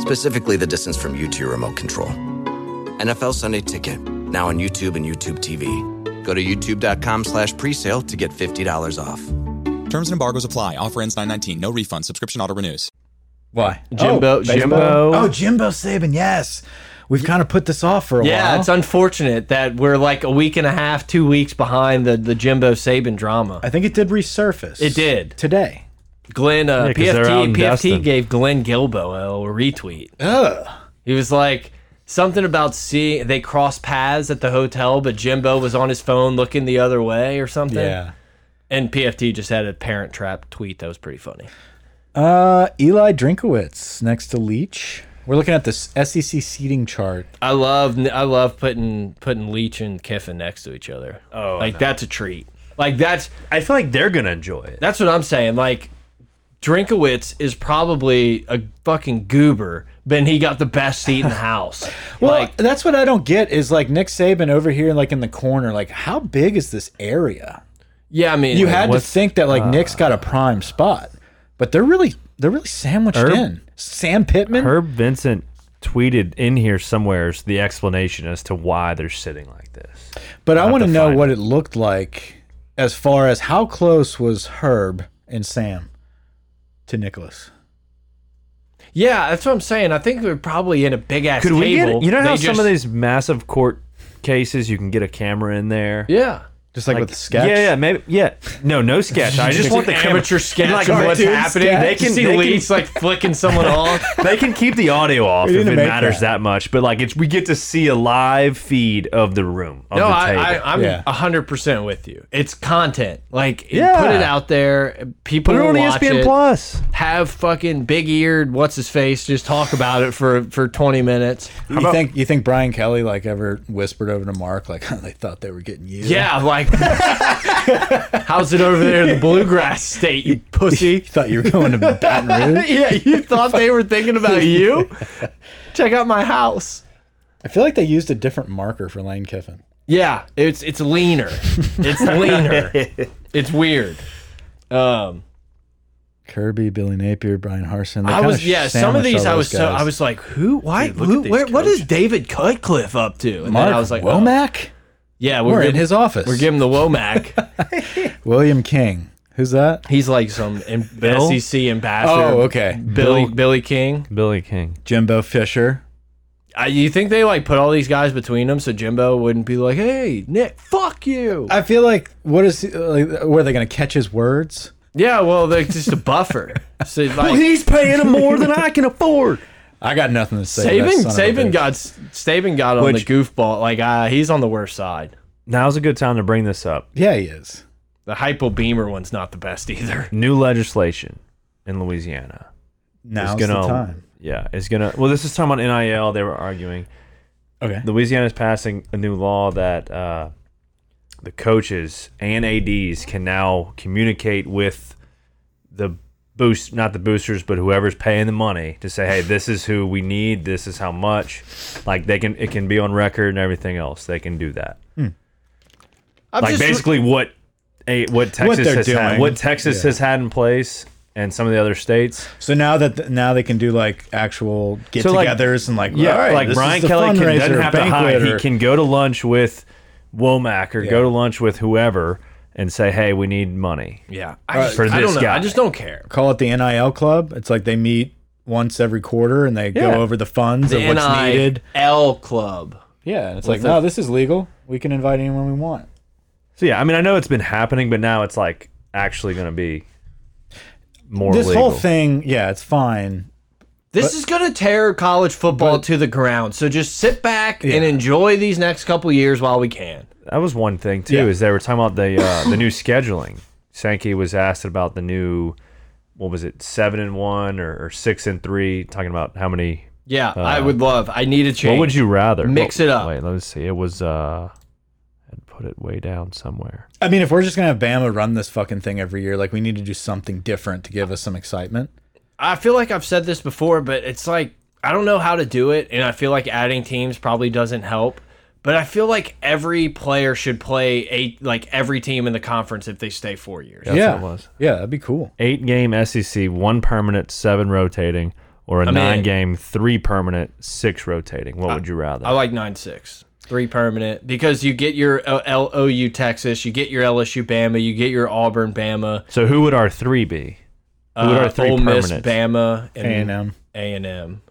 E: specifically the distance from you to your remote control. NFL Sunday Ticket, now on YouTube and YouTube TV. Go to youtube.com slash presale to get $50 off.
F: Terms and embargoes apply. Offer ends 919. No refund. Subscription auto renews.
C: Why?
D: Jimbo-
C: Oh, baseball?
B: Jimbo.
C: Oh, Jimbo Saban. Yes, we've kind of put this off for a
D: yeah,
C: while.
D: it's unfortunate that we're like a week and a half, two weeks behind the, the Jimbo Saban drama.
C: I think it did resurface.
D: It did.
C: today.
D: Glenn uh,
B: 'cause they're
D: PFT
B: out in
D: PFT
B: Destin.
D: gave Glenn Gilbo a retweet. He was like something about seeing they crossed paths at the hotel, but Jimbo was on his phone looking the other way or something. And PFT just had a parent trap tweet that was pretty funny.
C: Uh, Eli Drinkowitz next to Leach. We're looking at this SEC seating chart.
D: I love I love putting putting Leach and Kiffin next to each other.
B: Oh,
D: like
B: no.
D: that's a treat. Like that's
B: I feel like they're gonna enjoy it.
D: that's what I'm saying. Like Drinkowitz is probably a fucking goober, but he got the best seat in the house.
C: Well,
D: like
C: that's what I don't get is like Nick Saban over here, like in the corner. Like, how big is this area?
D: yeah, I mean
C: You had to
B: what's-
C: think that like Nick's got a prime spot, but they're really they're really sandwiched
B: Herb-
C: in. Sam Pittman.
B: Herb Vincent tweeted in here somewheres the explanation as to why they're sitting like this.
C: But I want to
B: to
C: know
B: find
C: what it looked like as far as how close was Herb and Sam to Nicholas.
D: yeah, that's what I'm saying. I think we're probably in a big ass
B: Could
D: table.
B: we get? You know how
D: They
B: some
D: just-
B: of these massive court cases you can get a camera in there.
D: yeah.
C: Just like, with the sketch.
B: Yeah, yeah, maybe. Yeah, no, no sketch. I just want the camera.
D: amateur sketch
B: Like,
D: of what's
B: cartoon
D: happening.
B: sketch.
D: They can see
B: They can-
D: Leach like flicking someone off.
B: They can keep the audio off
C: need
B: if
C: to
B: it
C: make
B: matters
C: that.
B: that. much, but like it's we get to see a live feed of the room. Of
D: No,
B: the
D: I,
B: table.
D: I, I'm
C: Yeah.
D: a hundred percent with you. It's content. Like,
B: Yeah.
D: put it out there. People
B: put it
D: will
B: on
C: E
B: E
D: watch
B: ESPN
D: it.
B: Plus.
D: Have fucking big eared what's his face just talk about it for for twenty minutes.
C: You think you think Brian Kelly like ever whispered over to Mark like they thought they were getting you?
D: Yeah, like, how's it over there in the bluegrass state, you
C: You
D: pussy?
C: thought you were going to Baton Rouge.
D: yeah, you thought they were thinking about you? Check out my house.
C: I feel like they used a different marker for Lane Kiffin.
D: Yeah, it's it's leaner. It's leaner. it's weird. Um,
C: Kirby, Billy Napier, Brian Harson. they
D: I
C: kinda
D: was yeah. Some of
C: sandwiched
D: these
C: all
D: I was
C: those
D: so
C: guys.
D: I was like, who? Why?
B: look
D: who,
B: at these
D: where, what is David Cutcliffe up to? And
C: Mark
D: then I was like, oh,
C: Womack.
D: yeah, we're,
C: We're in
D: giving,
C: his office.
D: we're giving the Womack.
C: William King. Who's that?
D: He's like some em-
B: Bill?
D: SEC E ambassador.
C: Oh, okay.
D: Billy
B: Bill-
D: Billy King.
B: Billy King.
C: Jimbo Fisher.
D: I, you think they like put all these guys between them so Jimbo wouldn't be like, hey Nick, fuck you.
C: I feel like what is like, were they going to catch his words?
D: yeah, well, they're just a buffer. So like,
B: He's paying him more than I can afford.
C: I got nothing to say. to that
D: Saban
C: son of a
D: Saban
C: bitch.
D: got Saban got on
B: Which-
D: the goofball. Like uh, he's on the worst side.
B: Now's a good time to bring this up.
C: Yeah, he is.
D: The hypo beamer one's not the best either.
B: New legislation in Louisiana.
C: Now's
B: is gonna,
C: the time.
B: Yeah, it's gonna. Well, this is talking about NIL. They were arguing.
C: Okay.
B: Louisiana is passing a new law that uh, the coaches and ads can now communicate with the boost, not the boosters, but whoever's paying the money to say, hey, this is who we need. This is how much. Like they can, it can be on record and everything else. They can do that.
D: I'm
B: like
D: just-
B: basically what a, what Texas
C: they're
B: has had,
C: doing.
B: what Texas has had in place, and some of the other states.
C: So now that th now they can do like actual
B: like-
C: get-togethers and like
B: Yeah,
C: all right,
B: like
C: this
B: Brian
C: is the
B: Kelly can,
C: fundraiser,
B: doesn't have to
C: banquet,
B: hide. He
C: or-
B: can go to lunch with Womack or
C: Yeah.
B: go to lunch with whoever and say, "Hey, we need money."
D: Yeah, I, just,
B: for
D: I don't
B: this
D: know. I
B: guy.
D: just don't care.
C: call it the NIL club. It's like they meet once every quarter and they
B: Yeah.
C: go over the funds and what's needed.
D: L Club.
C: Yeah, and it's like no, this is legal. We can invite anyone we want.
B: So yeah, I mean, I know it's been happening, but now it's like actually going to be more
C: this whole
B: legal.
C: thing, yeah, it's fine.
D: This is gonna tear college football to the ground. So just sit back and enjoy these next couple years while we can.
B: That was one thing too. Is they were talking about the uh, the new scheduling. Sankey was asked about the new, what was it, seven and one or, or six and three? Talking about how many.
D: Yeah, I would love. I need a change.
B: What would you rather
D: Mix
B: What-
D: it up.
B: Wait, let me see. It was. uh I'd put it way down somewhere.
C: I mean, if we're just gonna have Bama run this fucking thing every year, like we need to do something different to give us some excitement.
D: I feel like I've said this before, but it's like I don't know how to do it, and I feel like adding teams probably doesn't help. But I feel like every player should play a like every team in the conference if they stay four years.
C: yeah,
B: what it was.
C: yeah, that'd be cool.
B: eight game SEC, one permanent, seven rotating, or a
D: mean-
B: nine game, three permanent, six rotating. What would you rather?
D: I like nine six. Three permanent because you get your uh, LOU Texas, you get your LSU Bama, you get your Auburn Bama,
B: so who would our three be? Who would our
D: uh,
B: three
D: Ole Miss
B: permanent?
D: Bama,
C: A
D: and
C: and um, M.
D: A and M.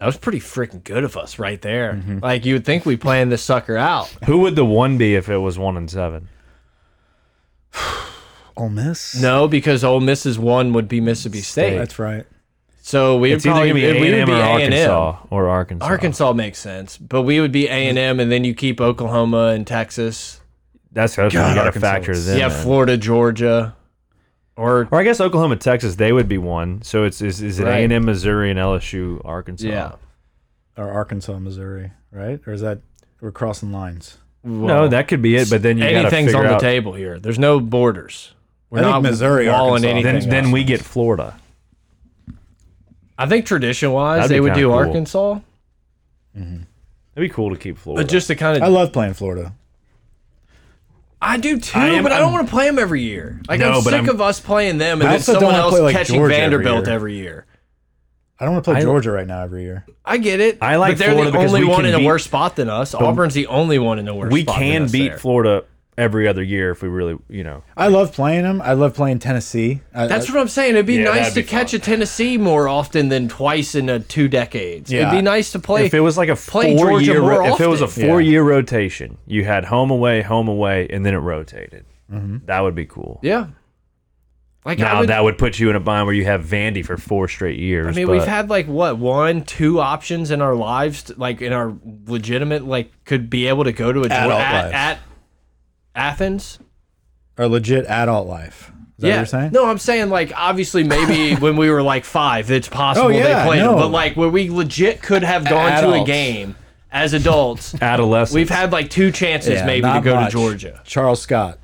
D: That was pretty freaking good of us right there.
C: Mm-hmm.
D: Like you would think we playing this sucker out.
B: Who would the one be if it was one and seven?
C: Ole Miss.
D: No, because Ole Miss's one would be Mississippi State.
C: that's right.
D: So we would
B: It's either
D: probably
B: gonna be
D: we would
B: A and M
D: be
B: or
D: A&M.
B: Arkansas or Arkansas.
D: Arkansas makes sense, but we would be A and M, and then you keep Oklahoma and Texas.
B: That's the other thing you
C: God,
B: got to
C: Arkansas
B: factor
C: is-
B: then.
D: yeah,
B: in.
D: Florida, Georgia. Or
B: Or I guess Oklahoma, Texas, they would be one. So it's is, is it
D: Right.
B: A and M, Missouri, and LSU, Arkansas?
D: yeah.
C: or Arkansas, Missouri, right? Or is that we're crossing lines?
B: no, that could be it. But then you gotta
D: anything's
B: figure
D: on the
B: out-
D: table here. There's no borders. We're
C: I think Missouri,
D: walling
C: Arkansas.
D: anything.
B: Then
C: Anything
B: then
C: else.
B: we get Florida.
D: I think tradition wise
B: That'd be
D: they would
B: kinda
D: do
B: cool.
D: Arkansas,
B: It'd be cool to keep Florida.
D: but just to kind of
C: I love playing Florida.
D: I do too,
B: I am-
D: but I don't
B: I'm-
D: want to play them every year. Like
B: No,
D: I'm
B: but
D: sick
B: I'm-
D: of us playing them and
C: I
D: then
C: also don't
D: someone
C: wanna
D: else
C: play, like,
D: catching
C: Georgia every
D: Vanderbilt
C: year.
D: every year.
C: I don't want to play
B: I-
C: Georgia right now every year.
D: I get it.
B: I like
D: but they're
B: Florida
D: the
B: because
D: only
B: we
D: one
B: can
D: in a
B: beat-
D: worse spot than us. Auburn's the only one in a worse
B: we
D: spot.
B: can
D: than us
B: beat
D: there.
B: Florida every other year if we really, you know.
C: I love playing them. I love playing Tennessee. I,
D: That's what I'm saying. It'd be
B: Yeah,
D: nice
B: that'd
D: to
B: be
D: catch a Tennessee more often than twice in a two decades.
C: Yeah.
D: It'd be nice to play.
B: if it was like a
D: play
B: four
D: Georgia
B: year,
D: more
B: ro- if it was a
D: often.
B: four
C: Yeah.
B: year rotation, you had home away, home away, and then it rotated.
D: Mm-hmm.
B: That would be cool.
D: yeah, like I
B: Now
D: would,
B: that would put you in a bind where you have Vandy for four straight years.
D: I mean, we've had like what one, two options in our lives, t- like in our legitimate, like could be able to go to a Geor-
C: Adult
D: at,
C: lives.
D: at Athens.
C: or legit adult life. Is that what you're saying?
D: No, I'm saying like obviously maybe when we were like five, it's possible
C: Oh, yeah,
D: they played,
C: no.
D: but like where we legit could have gone to a
C: adults.
D: game as adults.
B: adolescents.
D: We've had like two chances
C: Yeah,
D: maybe to
C: not
D: go
C: much.
D: to Georgia.
C: Charles Scott.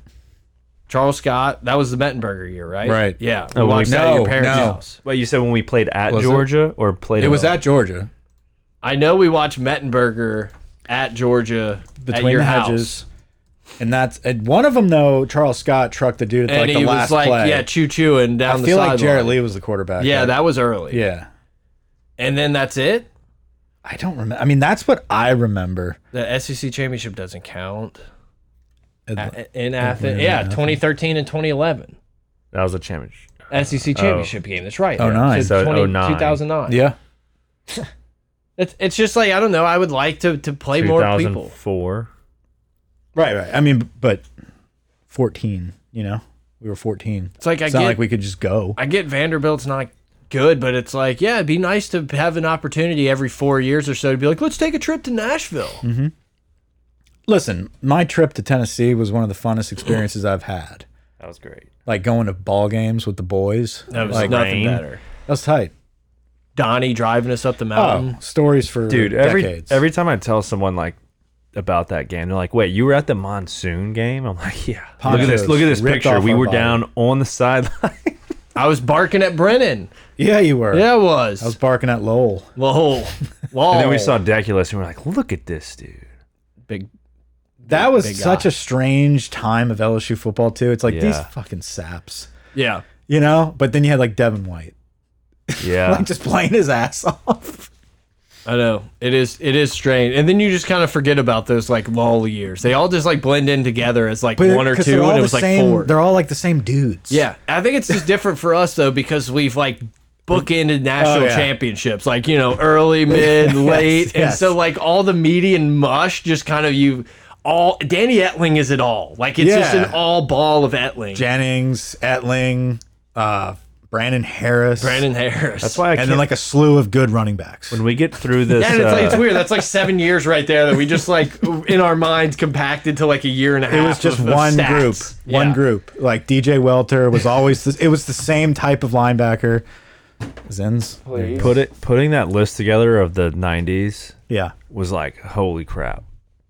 D: Charles Scott, that was the Mettenberger year, right?
C: Right.
D: Yeah.
B: Oh,
D: we
B: well,
D: watched that at your
C: no,
D: parents'
C: no.
D: house.
B: But you said when we played at
C: Was it-
B: Georgia or played.
C: It was
B: home?
C: at Georgia.
D: I know we watched Mettenberger at Georgia
C: Between
D: at your
C: the
D: house.
C: hedges, And that's and one of them though. Charles Scott trucked the dude at
D: And
C: like
D: he
C: the last
D: was like,
C: play.
D: yeah, choo chooing down
C: I
D: the
C: feel like Jarrett
D: sideline.
C: Lee was the quarterback.
D: yeah,
C: right?
D: that was early.
C: yeah.
D: And then that's it.
C: I don't remember. I mean, that's what I remember.
D: The SEC championship doesn't count.
C: It-
D: A- in Athens. Yeah, 2013 and 2011
B: That was a championship.
D: SEC E championship game. That's right.
C: Oh, nine.
B: So,
D: 20
B: 09.
D: 2009.
C: yeah.
D: It's, it's just like I don't know. I would like to to play more people.
B: 2004.
C: Right, right. I mean, but 14, you know, we were 14.
D: It's like I
C: It's not
D: get
C: like we could just go.
D: I get Vanderbilt's not good, but it's like yeah, it'd be nice to have an opportunity every four years or so to be like, let's take a trip to Nashville.
C: Hmm. Listen, my trip to Tennessee was one of the funnest experiences I've had.
B: That was great.
C: Like going to ball games with the boys.
D: That was
C: like, that
D: nothing
B: rain.
D: better.
C: was tight.
D: Donnie driving us up the mountain.
C: Oh, stories for
B: Dude, every
C: decades.
B: every time I tell someone like about that game, they're like, "Wait, you were at the monsoon game?" I'm like, "Yeah." look at this.
C: Ponchos
B: Look at this
C: ripped
B: picture.
C: off
B: We
C: our
B: were
C: body.
B: down on the sideline.
D: I was barking at Brennan.
C: yeah, you were.
D: Yeah, I was.
C: I was barking at Lowell.
D: Lol. Lol.
B: and
C: Oh.
B: then we saw Deculus, and we're like, "Look at this, dude."
D: big.
C: That
D: big
C: was
D: guy.
C: such a strange time of LSU football, too. It's like these
B: Yeah.
C: fucking saps,
D: Yeah.
C: you know? But then you had like Devin White,
B: Yeah.
C: like just playing his ass off.
D: I know it is. It is strange, and then you just kind of forget about those like lull years. They all just like blend in together as like
C: But-
D: one or
C: 'cause they're
D: two,
C: all
D: and
C: the
D: it was like
C: same,
D: four.
C: They're all like the same dudes.
D: Yeah, I think it's just different for us though because we've like bookended national
C: Oh, yeah.
D: championships, like you know, early, mid, late, and
C: yes.
D: so like all the median mush just kind of you. All Danny Etling is it all? Like it's just
C: Yeah.
D: an all ball of Etling.
C: Jennings, Etling, uh, Brandon Harris,
D: Brandon Harris.
B: That's why I
C: and
B: can't.
C: then like a slew of good running backs.
B: when we get through this,
D: Yeah, and it's like it's
B: uh,
D: weird. That's like seven years right there that we just like in our minds compacted to like a year and a half.
C: It was just
D: of- of
C: one
D: stats.
C: group, one
D: Yeah.
C: group. Like DJ Welter was always, the, it was the same type of linebacker. Zins,
B: put it putting that list together of the '90s
C: yeah.
B: was like, "Holy crap!"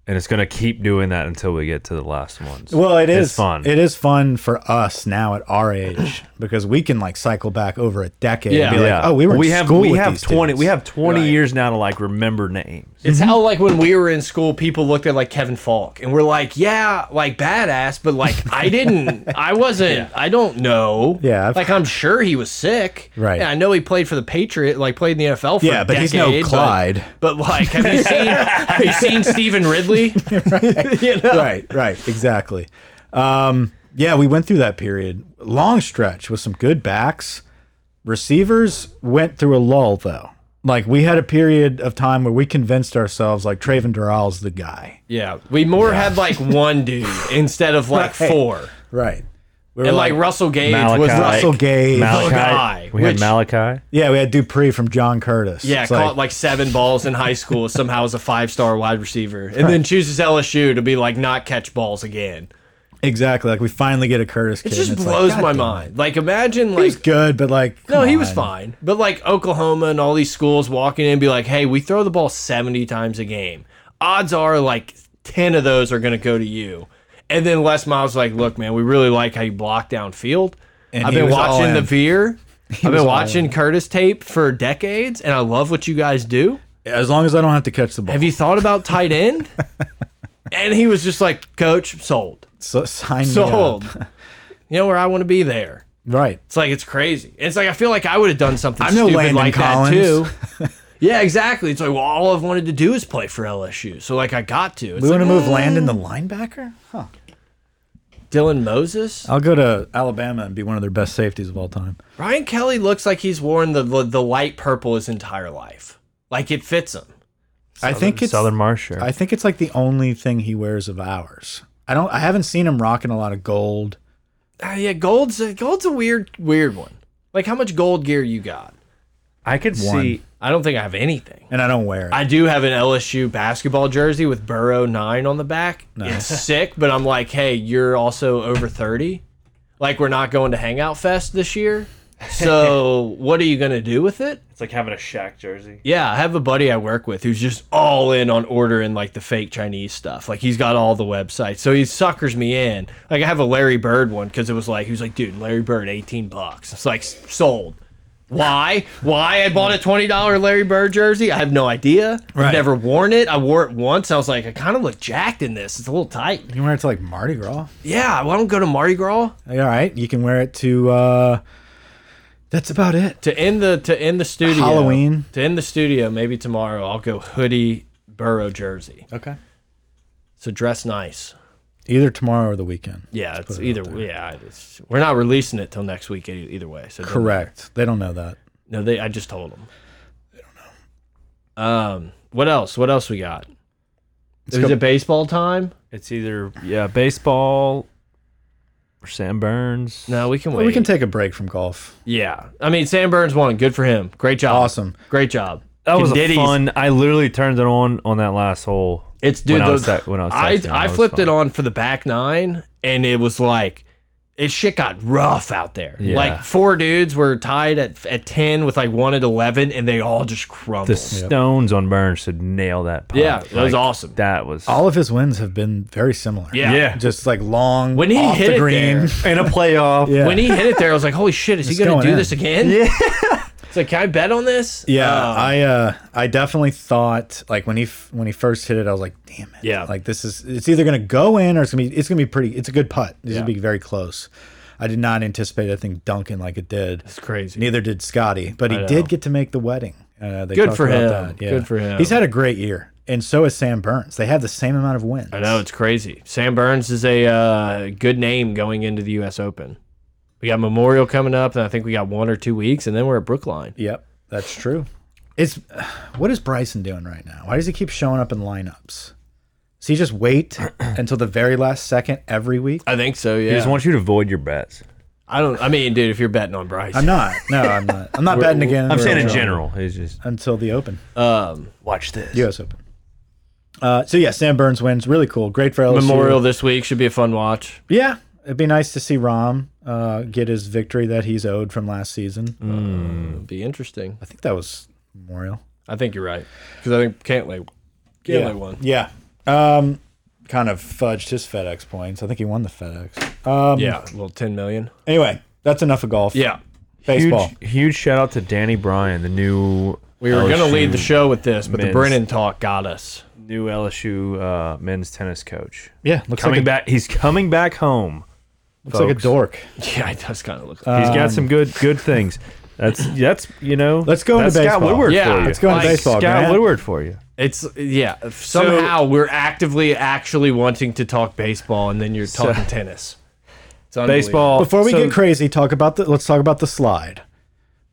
B: And it's gonna keep doing that until we get to the last ones.
C: Well, it is
B: It's fun.
C: It is fun for us now at our age because we can like cycle back over a decade.
D: Yeah.
C: and be like, oh, we were.
B: we
C: in
B: have
C: school
B: we
C: with
B: have
C: these
B: twenty
C: dudes."
B: we have twenty
D: Right.
B: years now to like remember names.
D: It's
C: Mm-hmm.
D: how like when we were in school, people looked at like Kevin Falk, and we're like, yeah, like badass, but like I didn't, I wasn't, I don't know.
C: Yeah, I've-
D: like I'm sure he was sick.
C: Right.
D: And I know he played for the Patriot, like played in the NFL. For
C: Yeah,
D: a
C: but he's no
D: decade, but-
C: Clyde.
D: But, like, have you seen have you seen Stephen Ridley? you know?
C: right, right, exactly. Um, yeah, we went through that period, long stretch with some good backs. Receivers went through a lull though. Like we had a period of time where we convinced ourselves like Traven Dural's the guy.
D: Yeah, we more had like one dude instead of like
C: Right.
D: four,
C: Right. We were
D: and like, Russell Gage was like,
C: Russell Gage.
D: Oh,
B: Malachi.
D: guy,
B: we
D: which-
B: had Malachi.
C: yeah, we had Dupree from John Curtis.
D: Yeah,
C: It's
D: caught
C: like,
D: like, seven balls in high school. Somehow is a five star wide receiver, and then chooses LSU to be like not catch balls again.
C: Exactly. Like we finally get a Curtis kid.
D: It
C: and
D: just
C: it's like,
D: blows
C: God
D: my
C: damn it.
D: mind. Like imagine
C: He was
D: like
C: good, but like
D: no,
C: come
D: he was
C: on.
D: fine. But like Oklahoma and all these schools walking in and be like, "Hey, we throw the ball 70 times a game. Odds are like 10 of those are going to go to you." And then Les Miles like, "Look, man, we really like how you block downfield.
C: And
D: I've
C: he
D: been
C: was all
D: watching the
C: in.
D: Veer. I've
C: was
D: been
C: all
D: watching Curtis tape for decades, and I love what you guys do.
C: As long as I don't have to catch the ball.
D: Have you thought about tight end?" and he was just like, "Coach, sold.
C: so, sign me
D: Sold.
C: up.
D: you know where I want to be there."
C: Right.
D: It's like it's crazy. It's like I feel like I would have done something
C: I know
D: stupid
C: Landon
D: like
C: Collins.
D: that too. yeah, exactly. It's like well, all I've wanted to do is play for LSU, so like I got to. It's
C: We
D: like,
C: want to move Landon the linebacker? Huh.
D: Dylan Moses,
C: I'll go to Alabama and be one of their best safeties of all time.
D: Brian Kelly looks like he's worn the the, the light purple his entire life. Like it fits him.
C: I think it's
B: Southern Marsh. sure.
C: I think it's like the only thing he wears of ours. I don't I haven't seen him rocking a lot of gold.
D: Ah, yeah, gold's a, gold's a weird weird one. Like how much gold gear you got?
B: I could
C: One.
B: see.
D: I don't think I have anything.
C: And I don't wear it.
D: I do have an LSU basketball jersey with Burrow nine on the back. It's sick, but I'm like, hey, you're also over thirty. Like we're not going to Hangout Fest this year. So what are you gonna do with it?
B: It's like having a Shaq jersey.
D: Yeah, I have a buddy I work with who's just all in on ordering like the fake Chinese stuff. Like he's got all the websites, so he suckers me in. Like I have a Larry Bird one because it was like he was like, dude, Larry Bird, eighteen bucks. It's like s- sold. Why? Why I bought a twenty dollar Larry Bird jersey? I have no idea. I've
C: Right.
D: never worn it. I wore it once. I was like, I kind of look jacked in this. It's a little tight.
C: you can wear it to like Mardi Gras.
D: Yeah, well, I don't go to Mardi Gras
C: Like, all right. You can wear it to uh that's about it.
D: to end the to end the studio.
C: Halloween.
D: to end the studio. Maybe tomorrow I'll go hoodie Burrow jersey.
C: Okay.
D: So dress nice.
C: Either tomorrow or the weekend.
D: Yeah, it's
C: put it
D: either
C: out there.
D: yeah. It's, we're not releasing it till next week e- either way. So don't-
C: Correct. They don't know that.
D: No, they. I just told them. They don't know. Um. What else? What else we got? Is
C: go-
D: it baseball time?
B: It's either yeah, baseball or Sam Burns.
D: No, we can wait.
C: Well, we can take a break from golf.
D: yeah. I mean, Sam Burns won. Good for him. Great job.
C: Awesome.
D: Great job.
B: That was a
D: Conditti's-
B: fun. I literally turned it on on that last hole.
D: It's dude.
B: when I
D: the-
B: was that- when I was texting,
D: I,
B: that was
D: flipped it
B: fun.
D: on for the back nine, and it was like, it shit got rough out there.
B: Yeah.
D: Like four dudes were tied at at ten with like one at eleven, and they all just crumbled.
B: The stones on Burns to nail that. Putt.
D: Yeah, that was awesome.
B: That was
C: All of his wins have been very similar.
D: Yeah.
B: Yeah.
C: Just like long
D: When he
C: off
D: hit
C: the
D: it
C: green.
D: there-
B: in a playoff.
C: Yeah.
D: When he hit it there, I was like, "Holy shit! Is he
C: It's
D: gonna
C: going
D: do
C: in.
D: this again?" Yeah. It's like, can I bet on this?
C: Yeah,
D: Um,
C: I uh, I definitely thought like when he f when he first hit it, I was like, damn it.
D: Yeah.
C: like this is it's either gonna go in or it's gonna be it's gonna be pretty. It's a good putt. This would be very close. I did not anticipate that thing dunking like it did.
D: it's crazy.
C: Neither did Scotty, but
D: I
C: he
D: know.
C: did get to make the wedding. Uh, they
D: Good
C: talked
D: for
C: about
D: him.
C: That. Yeah.
D: Good for him.
C: He's had a great year, and so has Sam Burns. They have the same amount of wins.
D: I know it's crazy. Sam Burns is a uh, good name going into the U.S. Open. We got Memorial coming up, and I think we got one or two weeks, and then we're at Brookline.
C: Yep, that's true. It's what is Bryson doing right now? Why does he keep showing up in lineups? Does he just wait until the very last second every week?
D: I think so.
B: He
D: Yeah.
B: just wants you to avoid your bets.
D: I don't. I mean, dude, if you're betting on Bryce,
C: I'm not. No, I'm not. I'm not betting again.
B: I'm saying in
C: until-
B: general. He's just
C: until the Open,
D: um,
B: watch this.
C: U.S. Open. Uh, so yeah, Sam Burns wins. Really cool. Great for LSU.
D: Memorial this week should be a fun watch.
C: Yeah, it'd be nice to see Rom uh, get his victory that he's owed from last season.
D: It'll be interesting.
C: I think that was Memorial.
D: I think you're right because I think Cantley, Cantley
C: yeah.
D: won.
C: Yeah. Um, kind of fudged his FedEx points. I think he won the FedEx. Um,
D: Yeah, a little ten million.
C: Anyway, that's enough of golf.
D: Yeah.
C: Baseball.
B: Huge, huge shout out to Danny Bryan, the new
D: We were gonna lead the show with this, but the
B: men's-
D: Brennan talk got us.
B: new LSU uh, men's tennis coach.
C: Yeah. Looks
B: Coming
C: like a,
B: back, he's coming back home.
C: Looks like a
B: folks.
C: dork.
D: Yeah, it does kind of look. like
C: Uh,
B: He's got some good good things. That's that's you know.
C: Let's go into
B: that's Scott
C: baseball.
B: Woodward
D: Yeah,
B: for you.
D: let's
C: Let's go into
D: Like,
C: baseball.
B: Scott
C: Grant.
B: Woodward for you.
D: It's yeah. if Somehow we're actively actually wanting to talk baseball, and then you're talking tennis. It's unbelievable.
B: Baseball.
C: Before we
B: so
C: get crazy, talk about the. Let's talk about the slide.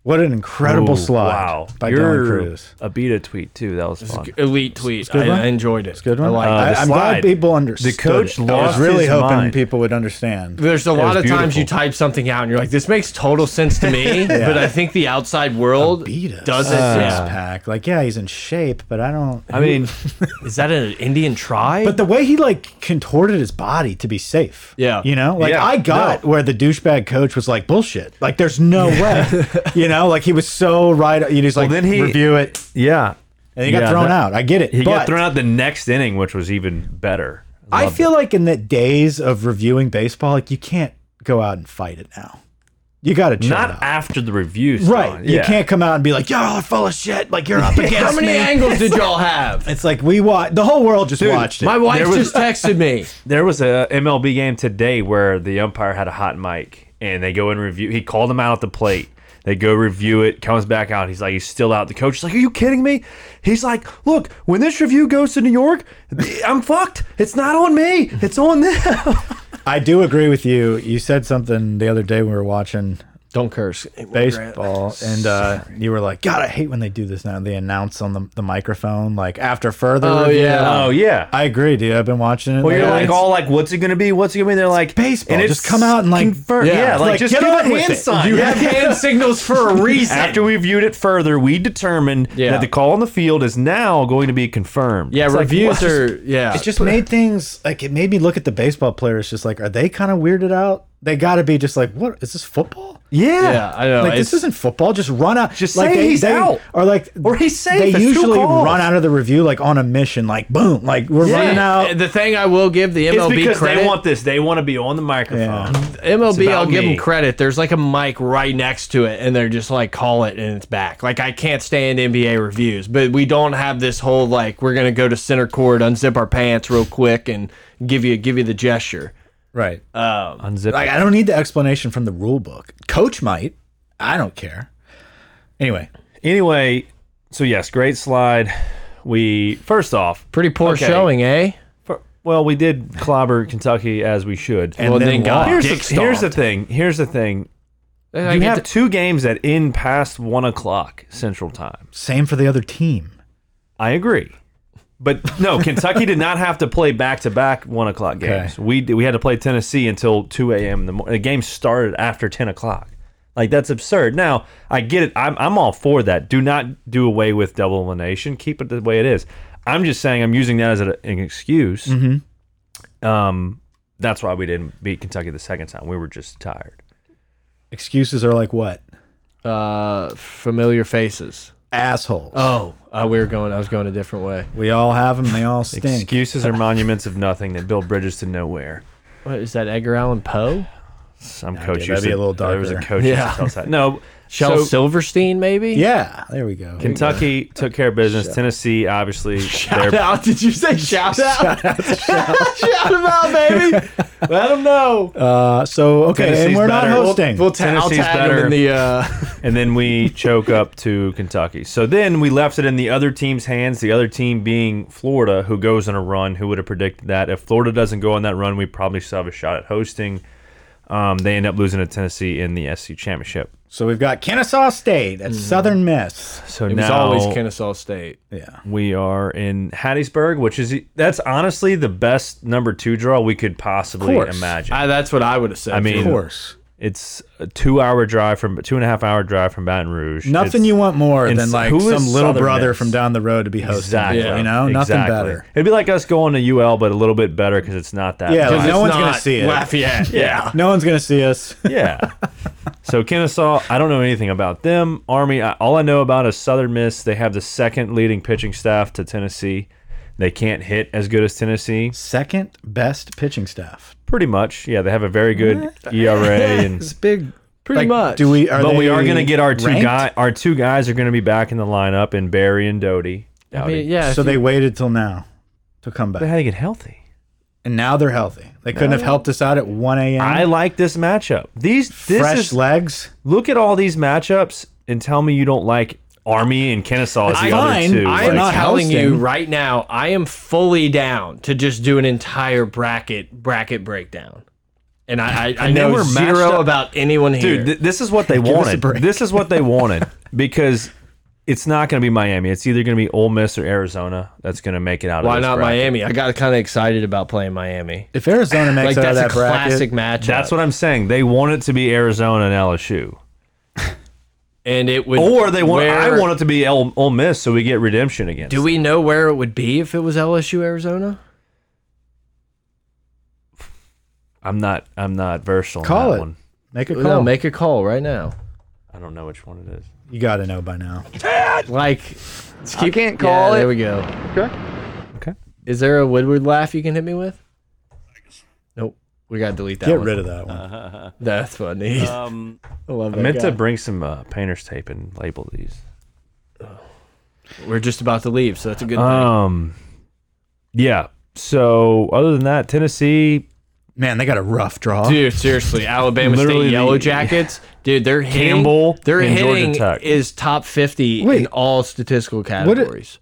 C: What an incredible
B: Ooh,
C: slide
B: Wow.
C: by
B: Your
C: Don Cruz.
B: Abita tweet too. That was fun.
D: Elite tweet.
C: good
D: I,
C: one.
D: I enjoyed it.
C: It's a good
D: I
C: one.
D: like
B: Uh,
D: that.
B: the
C: I, am
B: slide.
C: glad people understood. it.
B: coach
C: I was
B: lost
C: really
B: his
C: hoping
B: mind.
C: people would understand.
D: There's a lot
B: was
D: of times
B: beautiful.
D: you type something out and you're like, this makes total sense to me, but I think the outside world
C: Beat us. Uh,
D: doesn't.
C: Six
D: yeah.
C: pack. Like, yeah, he's in shape, but I don't.
B: I mean,
D: Is that an Indian tribe?
C: But the way he like contorted his body to be safe.
D: Yeah.
C: You know, like
B: Yeah,
C: I got where the douchebag coach was like, bullshit. Like, there's no way. you know, like he was so right. He's like,
B: then he-
C: review it.
B: yeah.
C: And he got
B: Yeah,
C: thrown
B: that-
C: out. I get it.
B: He
C: but
B: got thrown out the next inning, which was even better.
C: I feel like in the days of reviewing baseball, like you can't go out and fight it now. You got to chill
B: Not
C: out.
B: after the reviews.
C: Right.
B: done.
C: You
B: Yeah.
C: can't come out and be like, y'all are full of shit. Like, you're up against
D: How many
C: me."
D: angles did y'all have?
C: It's like, we watch, the whole world just watched it.
D: My wife
B: was-
D: just texted me.
B: There was a MLB game today where the umpire had a hot mic, and they go and review. He called him out at the plate. They go review it, comes back out. He's like, he's still out. The coach is like, are you kidding me? He's like, look, when this review goes to New York, I'm fucked. It's not on me. It's on them.
C: I do agree with you. You said something the other day when we were watching
D: Don't curse.
C: baseball, and uh, you were like, God, I hate when they do this now. They announce on the, the microphone, like, after further
D: Oh,
C: review.
D: yeah.
B: Oh yeah.
C: I agree, dude. I've been watching it.
B: well, you're like
C: it's
B: all like, what's it gonna be? What's it gonna be? They're like,
C: baseball.
B: And
C: just come out and like,
B: Confirm. Yeah,
D: Yeah,
B: like,
C: like,
B: just
C: get
B: give a
C: on with
B: hand
C: it.
B: sign.
D: You
B: Yeah.
D: have hand signals for a reason.
B: After we viewed it further, we determined
D: Yeah.
B: that the call on the field is now going to be confirmed.
D: yeah,
B: It's like,
D: reviews
B: what?
D: are yeah.
C: It just made things like it made me look at the baseball players just like, are they kind of weirded out? They got to be just like, what is this football?
B: Yeah.
D: yeah, I know.
C: Like this
D: it's-
C: isn't football. Just run out.
B: Just
C: like
B: say he's out.
C: or like
B: Or he's safe.
C: They
B: It's two
C: usually
B: calls.
C: run out of the review like on a mission. Like boom, like we're
D: Yeah.
C: running out.
D: The thing I will give the
B: It's
D: MLB
B: because
D: credit.
B: they want this. They want to be on the microphone.
D: MLB,
B: about
D: I'll give
B: me.
D: them credit. There's like a mic right next to it, and they're just like, call it, and it's back. Like, I can't stand NBA reviews, but we don't have this whole like, we're gonna go to center court, unzip our pants real quick, and give you give you the gesture.
C: Right.
B: Unzip.
C: like
B: it.
C: I don't need the explanation from the rule book. Coach might. I don't care. Anyway,
B: Anyway, so yes, great slide. We first off,
D: Pretty poor
B: Okay.
D: showing, eh?
B: fir- well, we did clobber Kentucky as we should.
C: and
D: Well,
C: then
D: then God.
C: lost.
B: here's,
D: dick
B: the, here's the
D: stomped.
B: thing. Here's the thing.
D: I
B: you
D: get
B: have
D: to-
B: two games that end past one o'clock Central Time.
C: same for the other team.
B: I agree. But no, Kentucky did not have to play back to back one o'clock games. We d- we had to play Tennessee until two a.m. in the morning. The game started after ten o'clock. Like that's absurd. Now I get it. I'm I'm all for that. Do not do away with double elimination. Keep it the way it is. I'm just saying I'm using that as a, an excuse.
C: Mm-hmm.
B: Um, that's why we didn't beat Kentucky the second time. We were just tired.
C: Excuses are like what
D: uh, familiar faces.
C: assholes.
D: Oh, uh, we were going. I was going a different way.
C: we all have them. They all stink.
B: Excuses are monuments of nothing that build bridges to nowhere.
D: What is that? Edgar Allan Poe?
B: Some coach
C: dude,
B: used
C: that'd be
B: to-
C: a little
B: There was a
C: darker.
B: coach used to
D: Yeah.
B: tell us that. No,
D: Shel
B: so-
D: Silverstein, maybe?
C: Yeah, there we go.
B: Kentucky took care of business. Tennessee, obviously,
D: Shout
B: they're-
D: out. Did you say shout out? shout him out, baby. Let him know.
C: Uh, so okay, and
B: Tennessee's
C: we're
B: better.
C: not
B: We'll-
C: hosting.
D: We'll ta- I'll
B: Tennessee's
D: tag him
B: better.
D: in the. Uh,
B: and then we choke up to Kentucky. So then we left it in the other team's hands. The other team being Florida, who goes on a run. Who would have predicted that? If Florida doesn't go on that run, we probably still have a shot at hosting. Um, they end up losing to Tennessee in the SC championship.
C: so we've got Kennesaw State at Southern Miss.
B: So
D: it
B: now
D: was always Kennesaw State.
C: Yeah,
B: we are in Hattiesburg, which is that's honestly the best number two draw we could possibly
C: course.
B: imagine.
D: I, that's what I would have said.
B: I mean,
C: of
D: too.
C: course.
B: It's a two-hour drive from two and a half-hour drive from Baton Rouge.
C: Nothing
B: It's-
C: you want more
B: and
C: than like
B: who
C: some
B: is
C: little
B: Southern
C: brother
B: Miss?
C: from down the road to be hosting.
B: exactly.
C: You know, nothing
B: Exactly.
C: better.
B: It'd be like us going to UL, but a little bit better because it's not that.
C: Yeah,
B: far.
C: like, no one's
D: It's
C: gonna
D: not
C: see it.
D: Lafayette. Yeah.
C: No one's gonna see us.
B: yeah. So Kennesaw, I don't know anything about them. Army, I, all I know about is Southern Miss. They have the second leading pitching staff to Tennessee. They can't hit as good as Tennessee,
C: Second best pitching staff.
B: pretty much. Yeah, they have a very good ERA, and
C: big.
D: Pretty much.
C: Do we? Are
B: but we
C: they
B: are going to get our two
C: ranked?
B: guy, our two guys are going to be back in the lineup, and Barry and Doty.
D: I mean, yeah.
C: So
D: if you-
C: they waited till now to come
B: They
C: back,
B: had to get healthy.
C: and now they're healthy. They couldn't have helped us out at 1 a.m.
B: I like this matchup. These this
C: Fresh
B: is,
C: legs.
B: look at all these matchups and tell me you don't like Army and Kennesaw as the
C: fine.
B: other two.
D: I
C: We're
D: am
B: Like,
C: not
D: telling you
C: hosting.
D: right now, I am fully down to just do an entire bracket bracket breakdown. And I, I, I know
B: never matched
D: zero
B: up-
D: about anyone here.
B: Dude, th this is what they
D: us a
B: wanted.
D: break.
B: This is what they wanted because it's not going to be Miami. It's either going to be Ole Miss or Arizona that's going to make it out.
D: Why
B: of this
D: not
B: bracket.
D: Miami? I got kind of excited about playing Miami.
C: If Arizona
D: Like
C: makes it out of
D: that's a
C: that bracket,
D: classic matchup.
B: That's what I'm saying. They want it to be Arizona and LSU,
D: and it would
B: or they want. I
D: where-
B: want it to be El- Ole Miss, so we get redemption against.
D: Do we know where it would be if it was LSU Arizona?
B: I'm not. I'm not versed on
C: call
B: that
C: it.
B: one.
C: Make a call.
D: No, make a call right now.
B: I don't know which one it is.
C: you got to know by now.
D: Like,
G: I can't call
D: yeah,
G: it.
D: There we go.
B: Okay.
D: Is there a Woodward laugh you can hit me with? Nope. We gotta delete that. uh-huh.
C: Get
D: one.
C: rid of that one.
D: That's funny.
B: Um,
D: I love
B: I
D: that.
B: meant
D: guy.
B: to bring some uh, painter's tape and label these.
D: We're just about to leave, so that's a good thing.
B: Um, yeah. So other than that, Tennessee.
C: Man, they got a rough draw.
D: Dude, seriously, Alabama
B: uh, Literally
D: State
B: the-
D: Yellow Jackets, dude, they're hitting.
B: Campbell
D: they're
B: and Georgia
D: hitting
B: Tech.
D: is top fifty in
C: Wait.
D: all statistical categories.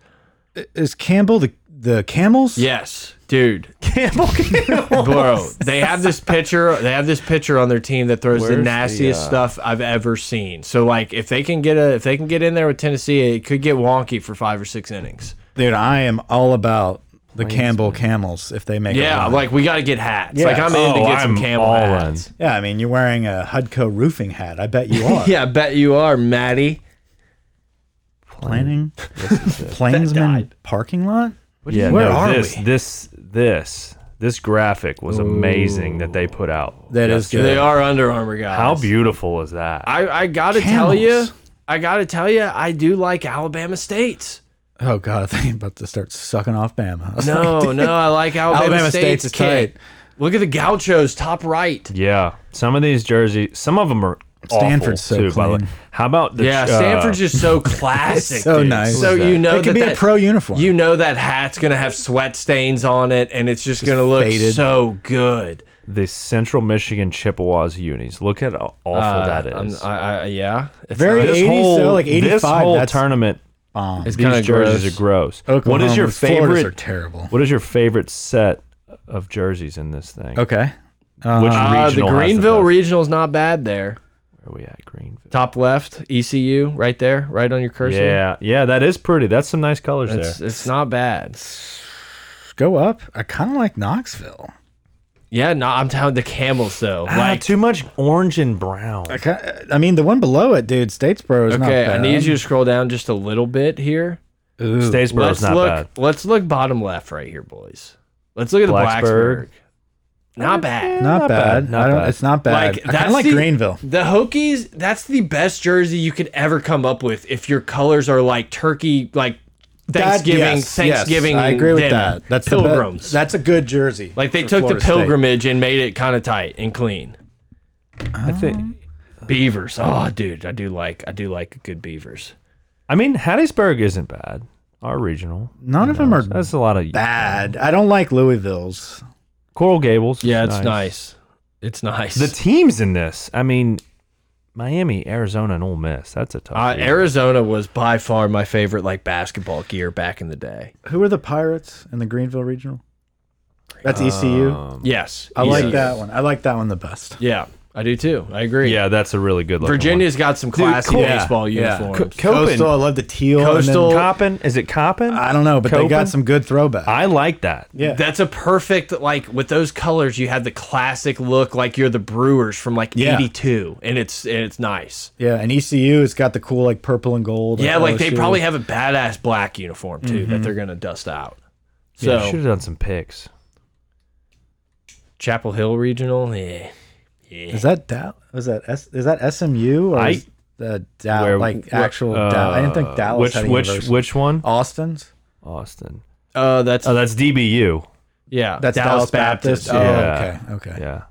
C: Is Campbell the the Camels?
D: yes, dude,
B: Campbell.
D: bro, they have this pitcher. They have this pitcher on their team that throws
B: Where's
D: the
B: the, uh,
D: nastiest stuff I've ever seen. So like, if they can get a, if they can get in there with Tennessee, it could get wonky for five or six innings.
C: Dude, I am all about the Campbell Camels if they make a
D: Yeah,
C: run.
D: like we got to get hats. Like I'm in
B: Oh,
D: to get some
B: I'm
D: camel
B: all
D: hats.
C: Yeah, I mean, you're wearing a Hudco roofing hat. I bet you are.
D: Yeah, I bet you are, Maddie.
C: Planning? Plainsman parking lot?
B: Yeah,
C: Where
B: no,
C: are
B: this,
C: we?
B: This this this graphic was amazing that they put out.
C: That is good.
D: They are Under Armour guys.
B: How beautiful is that?
D: I, I gotta tell you,
C: Camels.
D: I gotta tell you, I do like Alabama State.
C: Oh, God, I think I'm about to start sucking off Bama. I was like,
D: No, no, I like Alabama,
C: Alabama
D: State's,
C: State's is
D: kid.
C: tight.
D: Look at the Gauchos, top right.
B: yeah, some of these jerseys, some of them are awful,
C: Stanford's so
B: too. By the way.
C: clean.
B: how about the
D: Yeah,
B: uh,
D: Stanford's just so classic.
C: so
D: dude.
C: nice.
D: So you know
C: it could
D: that
C: be
D: that-
C: a pro uniform.
D: You know that hat's gonna have sweat stains on it, and it's just, gonna look
C: faded.
D: so good.
B: the Central Michigan Chippewas unis? Look at how awful that
D: Uh, I'm-
B: is.
D: I, I, yeah, it's
C: Very
D: not-
B: this
C: 80s,
B: whole
C: though, like
B: this
C: 85,
B: whole
C: that's-
B: tournament,
C: Bomb.
D: it's kinda
B: these jerseys are gross. what is your
C: Oklahoma's, Florida's
B: favorite?
C: are terrible.
B: What is your favorite set of jerseys in this thing?
C: Okay.
B: Which
D: Uh, the
B: regional has
D: Greenville
B: best?
D: regional's not bad there.
B: Where are we at? Greenville.
D: Top left, ECU, right there, right on your cursor.
B: Yeah, yeah, that is pretty. That's some nice colors
D: It's,
B: there.
D: it's not bad.
C: Go up. I kind of like Knoxville.
D: Yeah, no, I'm telling the camels though.
C: Ah,
B: Like
D: Like,
B: Ah, too much orange and brown.
C: I, ki- I mean, the one below it, dude, Statesboro is not
D: okay,
C: bad.
D: I need you to scroll down just a little bit here.
B: Statesboro's
D: Let's
B: not
D: look.
B: bad.
D: Let's look bottom left right here, boys. Let's look at the Blacksburg.
B: Blacksburg.
D: Not bad.
C: Not, bad.
B: bad, not
C: I don't,
B: bad.
C: It's not bad.
D: Like
C: I kind
D: that's
C: of like
D: the-
C: Greenville.
D: The Hokies. That's the best jersey you could ever come up with if your colors are like turkey, like Thanksgiving.
C: That- yes, yes,
D: Thanksgiving.
C: I agree with
D: dinner.
C: that. That's the be-
D: pilgrims.
C: that's a good jersey.
D: like they
C: for
D: took the
C: Florida State.
D: pilgrimage and made it kind of tight and clean.
B: I
C: Uh-huh.
B: think.
D: Beavers. Oh, dude, I do like I do like good beavers.
B: I mean, Hattiesburg isn't bad. Our regional.
C: None of them are
B: That's a lot of
C: bad. I don't like Louisville's.
B: Coral Gables.
D: Yeah, it's nice. It's nice.
B: The teams in this. I mean, Miami, Arizona, and Ole Miss. That's a tough.
D: Uh,
B: region.
D: Arizona was by far my favorite like basketball gear back in the day.
C: Who are the Pirates in the Greenville Regional?
D: Uh,
C: That's ECU.
B: Um,
D: Yes,
C: I
D: Yeah.
C: like that one. I like that one the best.
D: Yeah, I do too. I agree.
B: Yeah, that's a really good. looking
D: Virginia's got some classy
B: cool.
D: baseball
C: Yeah.
B: One.
D: uniforms.
B: Co- Copen.
C: Coastal. I love the teal. and then-
D: Coastal.
B: Coppin. Is it Coppin?
C: I don't know, but they got
B: Copen?
C: some good throwback.
B: I like that.
C: yeah.
D: That's a perfect like with those colors. You have the classic look like you're the Brewers from like
C: Yeah.
D: '82, and it's and it's nice.
C: yeah. And E ECU, it's got the cool like purple and gold. uh,
D: Yeah, like they
C: LSU.
D: probably have a badass black uniform too that they're gonna dust out. So
B: Yeah, should have done some picks.
D: Chapel Hill Regional, eh. yeah.
C: Is that Dallas? Is that S is that SMU or
B: I-
C: is that Dal-
B: Where-
C: like
B: wh-
C: actual
B: uh,
C: Dallas? I didn't think Dallas
B: Which
C: had a
B: which
C: university.
B: which one?
C: Austin's.
B: Austin.
D: Uh, that's
B: Oh, that's DBU.
D: yeah.
C: That's Dallas, Baptist.
B: yeah.
C: Oh, okay, okay.
B: Yeah, an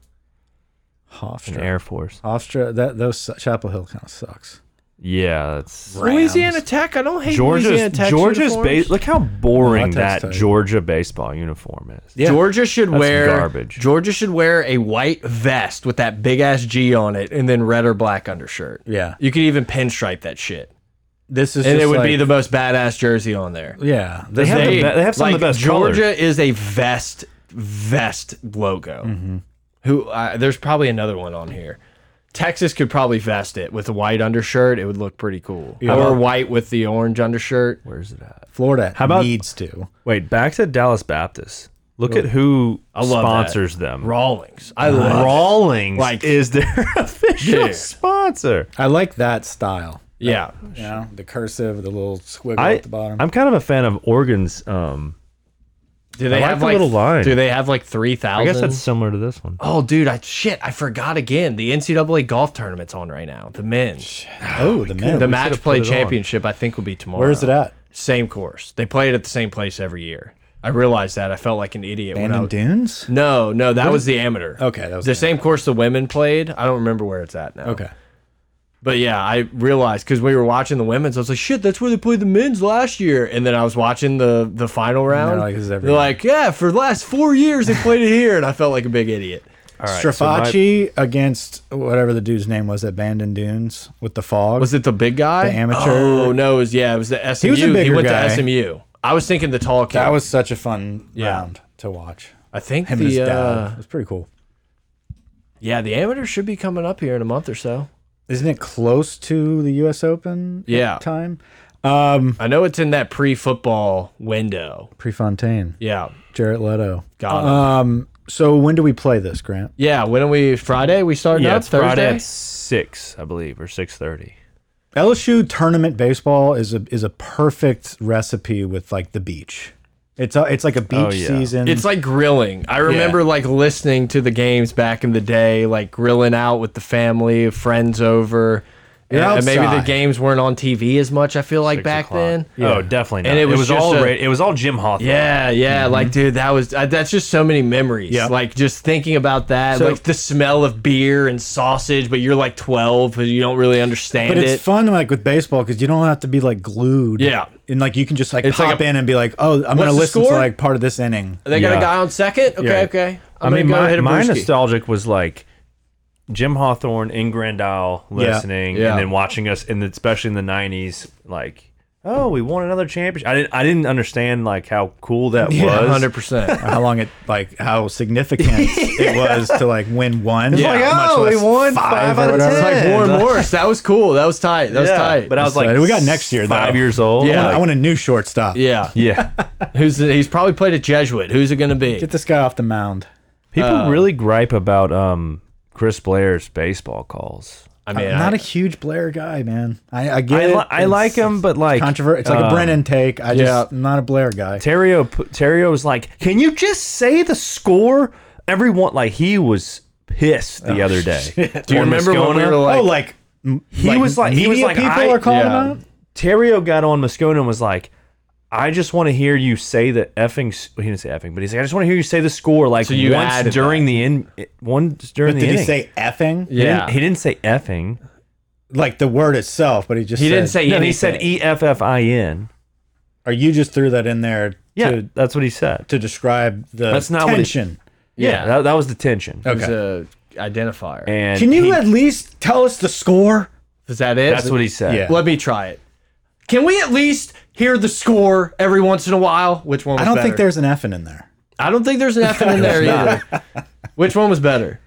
C: Hofstra.
B: Air Force.
C: Hofstra. That those Chapel Hill kind of sucks.
B: Yeah, that's
D: Oh, Louisiana Tech. I don't hate Louisiana
B: Georgia's
D: Tech.
B: Georgia's
D: uniforms.
B: base. Look how boring
C: No, that's
B: that
C: tight.
B: Georgia baseball uniform is.
C: Yeah.
D: Georgia should
B: That's
D: wear
B: garbage.
D: Georgia should wear a white vest with that big ass G on it, and then red or black undershirt.
C: Yeah.
D: you could even pinstripe that shit,
C: This is
D: and it
C: just
D: would
C: like-
D: be the most badass jersey on there.
C: yeah.
B: They
C: This,
B: have, the be- they have some of
D: like,
B: the best
D: Georgia
B: colors. Mm-hmm.
D: is a vest vest logo. Who uh, there's probably another one on here. Texas could probably vest it with a white undershirt. It would look pretty cool. Or white with the orange undershirt.
B: Where's it at?
C: Florida
B: about-
C: needs to.
B: Wait, back to Dallas Baptist. Look at who
D: love that.
B: sponsors them.
D: Rawlings. I love
B: Rawlings
D: Like-
B: is their official
D: Yeah.
B: sponsor.
C: I like that style.
D: Yeah.
C: You know, the cursive, the little squiggle
B: I,
C: at the bottom.
B: I'm kind of a fan of Oregon's. Um,
D: Do they
B: like
D: have
B: the
D: like
B: little line.
D: Do they have like three thousand?
B: I guess that's similar to this one.
D: Oh, dude! I shit! I forgot again. The NCAA golf tournament's on right now. The men's,
C: oh, the man.
D: the match
B: put
D: play
B: it on.
D: championship, I think will be tomorrow.
C: Where is it at?
D: Same course. They play it at the same place every year. I realized that. I felt like an idiot when I
C: Bandon
D: was,
C: Dunes?
D: No, no, that was the amateur.
C: Okay, that was
D: the
C: the
D: same course the women played. I don't remember where it's at now.
C: Okay.
D: But yeah, I realized because we were watching the women's, I was like, "Shit, that's where they played the men's last year." And then I was watching the the final round.
C: like, this is every
D: They're
C: year.
D: like, "Yeah, for the last four years they played it here," and I felt like a big idiot.
B: All right, so my-
C: Strafacci against whatever the dude's name was at Bandon Dunes with the fog.
D: Was it the big guy?
C: The amateur-
D: Oh no, it was yeah, it was the SMU. He,
C: was a bigger
D: went
C: guy.
D: to SMU. I was thinking the tall kid.
C: that was such a fun
D: Yeah.
C: round to watch.
D: I think
C: Him and his
D: the
C: dad.
D: uh,
C: It was pretty cool.
D: yeah the amateur should be coming up here in a month or so.
C: Isn't it close to the U.S. Open?
D: Yeah.
C: Time. Um,
D: I know it's in that pre-football window.
C: Prefontaine,
D: Yeah,
C: Jarrett Leto.
D: got it.
C: Um, so when do we play this, Grant?
D: yeah, when are we? Friday we start
B: yeah,
D: up.
B: it's Friday
D: Thursday?
B: at six, I believe, or six thirty.
C: LSU tournament baseball is a is a perfect recipe with like the beach. It's a, it's like a beach
B: Oh, yeah.
C: season.
D: It's like grilling. I remember like listening to the games back in the day, like grilling out with the family, friends over.
C: You're
D: and and maybe the
C: outside.
D: games weren't on TV as much. I feel like back then.
B: Oh, definitely not.
D: And
B: it
D: it
B: was,
D: was just
B: all
D: a-
B: ra- it was all Jim Hawthorne.
D: Yeah, yeah, like dude, that was uh, that's just so many memories.
C: Yep.
D: Like just thinking about that, like the smell of beer and sausage, but you're like 12 and you don't really understand
C: but it's
D: it.
C: fun like with baseball because you don't have to be like glued.
D: Yeah.
C: and like you can just like
D: It's like
C: pop
D: a-
C: in and be like, oh, I'm
D: the
C: gonna listen to
D: score?
C: like part of this inning.
D: They got
B: Yeah.
D: a guy on second? Okay,
C: Yeah.
D: okay.
B: I
D: I'm
B: mean,
D: gonna go
B: my,
D: hit a
B: my
D: brewski.
B: nostalgic was like Jim Hawthorne in Grand Isle listening,
D: Yeah.
B: and then watching us, and especially in the '90s, like, oh, we won another championship. I didn't, I didn't understand like how cool that was.
D: 100%.
C: How long it like how significant it was to like win one. It's
B: like, oh, we won five out of
D: It's like
B: 10.
D: Warren Morris. That was cool. That was tight. That was
B: Yeah,
D: tight.
B: But I was
C: So,
B: like,
C: we got next year,
B: five
C: though.
B: years old.
D: Yeah.
C: I want a new shortstop.
D: yeah,
B: yeah.
D: who's he's probably played a Jesuit. Who's it going to be?
C: Get this guy off the mound.
B: People really gripe about um Chris Blair's baseball calls.
D: I
C: I
D: mean,
C: am not
D: I-
C: a huge Blair guy, man. I, I get
B: I,
C: it.
B: li I like him, but like
C: Controver- it's like a
B: um,
C: Brennan take. I just
D: yeah.
C: I'm not a Blair guy.
B: Terrio pu- Terrio was like, "Can you just say the score?" Everyone like he was pissed the other day.
D: do you
B: Or
D: remember when we
B: Moscona.
D: were like?
C: oh, like
B: he was like he was
C: media
B: like
C: people
B: I,
C: are calling
D: yeah.
C: him out.
B: Terrio got on Moscona and was like, "I just want to hear you say the effing." s- He didn't say effing, but he's like, "I just want to hear you say the score like
D: you
B: once
D: added
B: during the in once during
C: But
B: the
C: did he
B: inning."
C: say effing?
B: He
D: yeah,
B: didn't, he didn't say effing.
C: Like the word itself, but he just
D: He
C: said,
D: didn't say.
B: No, he
D: anything.
B: said e f f i n.
C: Or you just threw that in there
B: Yeah,
C: to
B: that's what he said.
C: to describe the
B: That's not what he-
C: tension.
B: Yeah, that, that was the tension.
D: It was
C: okay.
D: a identifier.
B: And
C: Can you
B: he-
C: at least tell us the score?
D: Is that it?
B: That's what he said.
C: Yeah.
D: Let me try it. Can we at least hear the score every once in a while? Which one? Was
C: I don't think
D: better?
C: there's an effing in there.
D: I don't think there's an F in there either. Which one was better?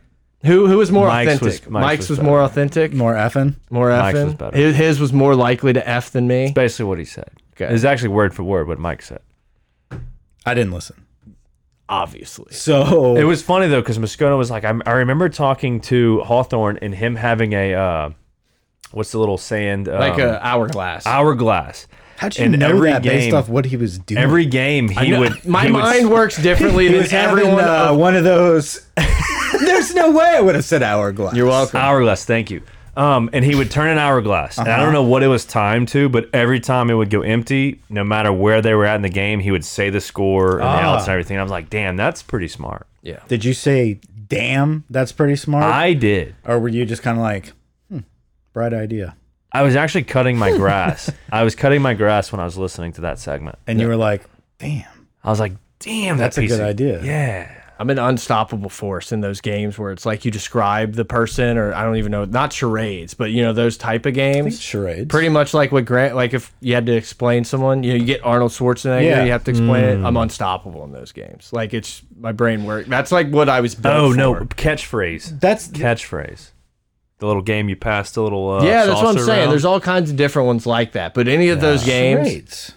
D: Who who was more
B: Mike's
D: authentic?
B: was- Mike's
D: Mike's,
B: was
D: was, more authentic.
C: More effing.
D: More
B: Mike's
D: effing.
B: was better.
D: His, his was more likely to F than me.
B: basically what he said.
D: Okay.
B: It's actually word for word what Mike said.
C: I didn't listen.
D: Obviously.
C: So
B: It was funny though because Moscona was like, I, I remember talking to Hawthorne and him having a uh, what's the little sand um,
D: Like a hourglass.
B: hourglass.
C: how'd you
B: in
C: know
B: every
C: that based
B: game-
C: off what he was doing?
B: Every game he would.
D: My
B: he would-
D: mind works differently
C: he
D: than
C: was having
D: everyone.
C: uh,
D: of-
C: one of those. there's no way I would have said hourglass.
D: You're welcome.
B: hourglass. Thank you. Um, and he would turn an hourglass. And I
D: Uh-huh.
B: don't know what it was timed to, but every time it would go empty, no matter where they were at in the game, he would say the score and the
D: Ah.
B: outs and everything. I was like, damn, that's pretty smart.
C: Did you say, damn, that's pretty smart?
B: I did.
C: or were you just kind of like, hmm, bright idea?
B: I was actually cutting my grass. I was cutting my grass when I was listening to that segment.
C: And you were like, damn,
B: I was like, damn, that
C: that's a
B: piece
C: good
B: of-
C: idea.
B: Yeah.
D: I'm an unstoppable force in those games where it's like you describe the person, or I don't even know, not charades, but you know those type of games.
C: Charades.
D: Pretty much like what Grant, like if you had to explain someone, you know, you get Arnold Schwarzenegger,
C: Yeah.
D: you have to explain it.
B: Mm.
D: I'm unstoppable in those games. Like it's my brain work. That's like what I was. Built
B: Oh no,
D: for.
B: catchphrase.
C: That's
B: Catchphrase. The little game you passed the little uh,
D: yeah, that's what I'm
B: saucer
D: saying.
B: around.
D: There's all kinds of different ones like that, but any of those games,
C: charades.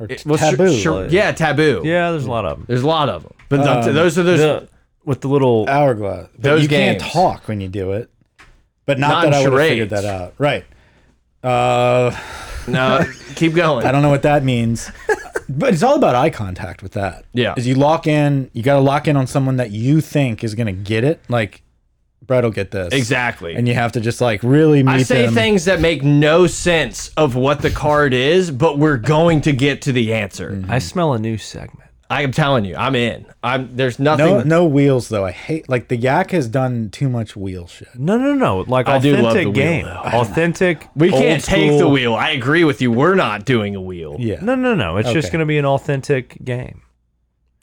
C: Or
D: it- well, sh-
C: taboo.
D: sh- yeah, taboo.
B: yeah, there's a lot of them.
D: There's a lot of them, but
C: Um,
D: th- those are those.
B: The- with the little
D: Uh,
C: hourglass. But
D: Those
C: you
D: games.
C: can't talk when you do it. But not,
D: Not
C: that I
D: in
C: would have figured
D: charades.
C: that out. Right. Uh,
D: no, keep going.
C: I don't know what that means. but it's all about eye contact with that.
D: Yeah.
C: Is you lock in, you got to lock in on someone that you think is going to get it. Like, Brett will get this.
D: exactly.
C: And you have to just like really meet
D: I say
C: them.
D: things that make no sense of what the card is, but we're going to get to the answer.
B: I smell a new segment.
D: I am telling you, I'm in. I'm there's nothing.
C: no, no wheels though. I hate like the yak has done too much wheel shit.
B: No, no, no. Like
D: I do
B: authentic
D: love the wheel,
B: game.
D: though.
B: authentic.
D: we can't
B: old
D: take the
B: school-
D: wheel. I agree with you. We're not doing a wheel.
C: Yeah.
B: No, no, no. It's just
C: Okay.
B: going to be an authentic game.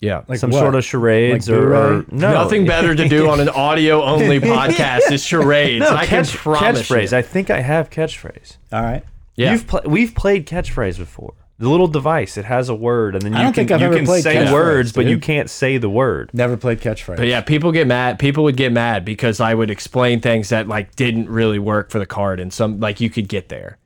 D: Yeah.
C: Like
B: Some
C: what?
B: sort of charades
C: Like
B: or, or-
C: Blu-ray?
B: no.
D: Nothing better to do on an audio only podcast is charades.
B: No,
D: I
B: catch,
D: can promise.
B: catchphrase.
D: You.
B: I think I have catchphrase.
C: All right.
D: Yeah.
B: You've pl- we've played catchphrase before. The little device, it has a word, and then you
C: I don't
B: can
C: think I've
B: you
C: ever
B: can
C: played
B: say
C: catchphrase,
B: words, but you
C: dude.
B: can't say the word.
C: Never played catchphrase.
D: but yeah, people get mad. People would get mad because I would explain things that like didn't really work for the card, and some like you could get there.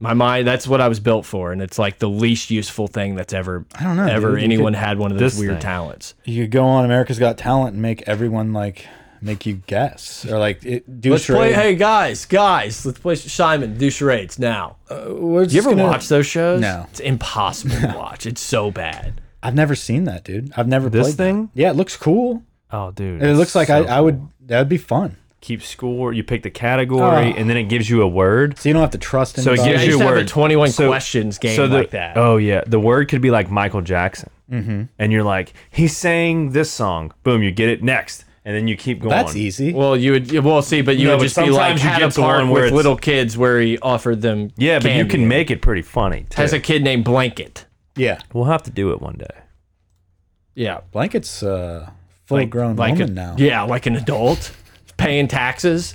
D: My mind, that's what I was built for, and it's like the least useful thing that's ever I
C: don't know,
D: ever
C: dude. You
D: anyone had one of those
B: This
D: weird
B: thing.
D: talents.
C: You could go on America's Got Talent and make everyone like make you guess or like it, do
D: Let's play.
C: charades.
D: Hey guys, guys, let's play Simon do charades now.
C: We're
D: you
C: just
D: ever
C: gonna-
D: watch those shows?
C: No.
D: it's impossible to watch. It's so bad.
C: I've never seen that, dude. I've never
B: This
C: played that.
B: thing?
C: Yeah, it looks cool.
B: Oh, dude.
C: It
B: it's
C: looks like
B: so
C: I, I
B: cool.
C: would that would be fun.
B: keep score. You pick the category,
C: Oh.
B: and then it gives you a word.
C: So you don't have to trust
B: So
C: anybody.
D: Yeah,
B: it gives
D: I
B: you
D: used
B: a
D: to have a
B: word.
D: 21
B: So-
D: questions game
B: so the,
D: like that.
B: Oh yeah, the word could be like Michael Jackson, and you're like, he sang this song. Boom, you get it next, and then you keep going.
C: That's easy.
D: Well, you would. Well, see, but you
B: No,
D: would
B: but
D: just be like
B: sometimes you
D: had
B: get
D: a
B: to
D: part
B: one where
D: with
B: it's-
D: little kids where he offered them.
B: Yeah, but you
D: candy.
B: can make it pretty funny. Too.
D: has a kid named Blanket.
C: yeah.
B: we'll have to do it one day.
D: Yeah,
C: Blanket's uh full grown
D: like
C: woman
D: a,
C: now.
D: Yeah, like an adult paying taxes.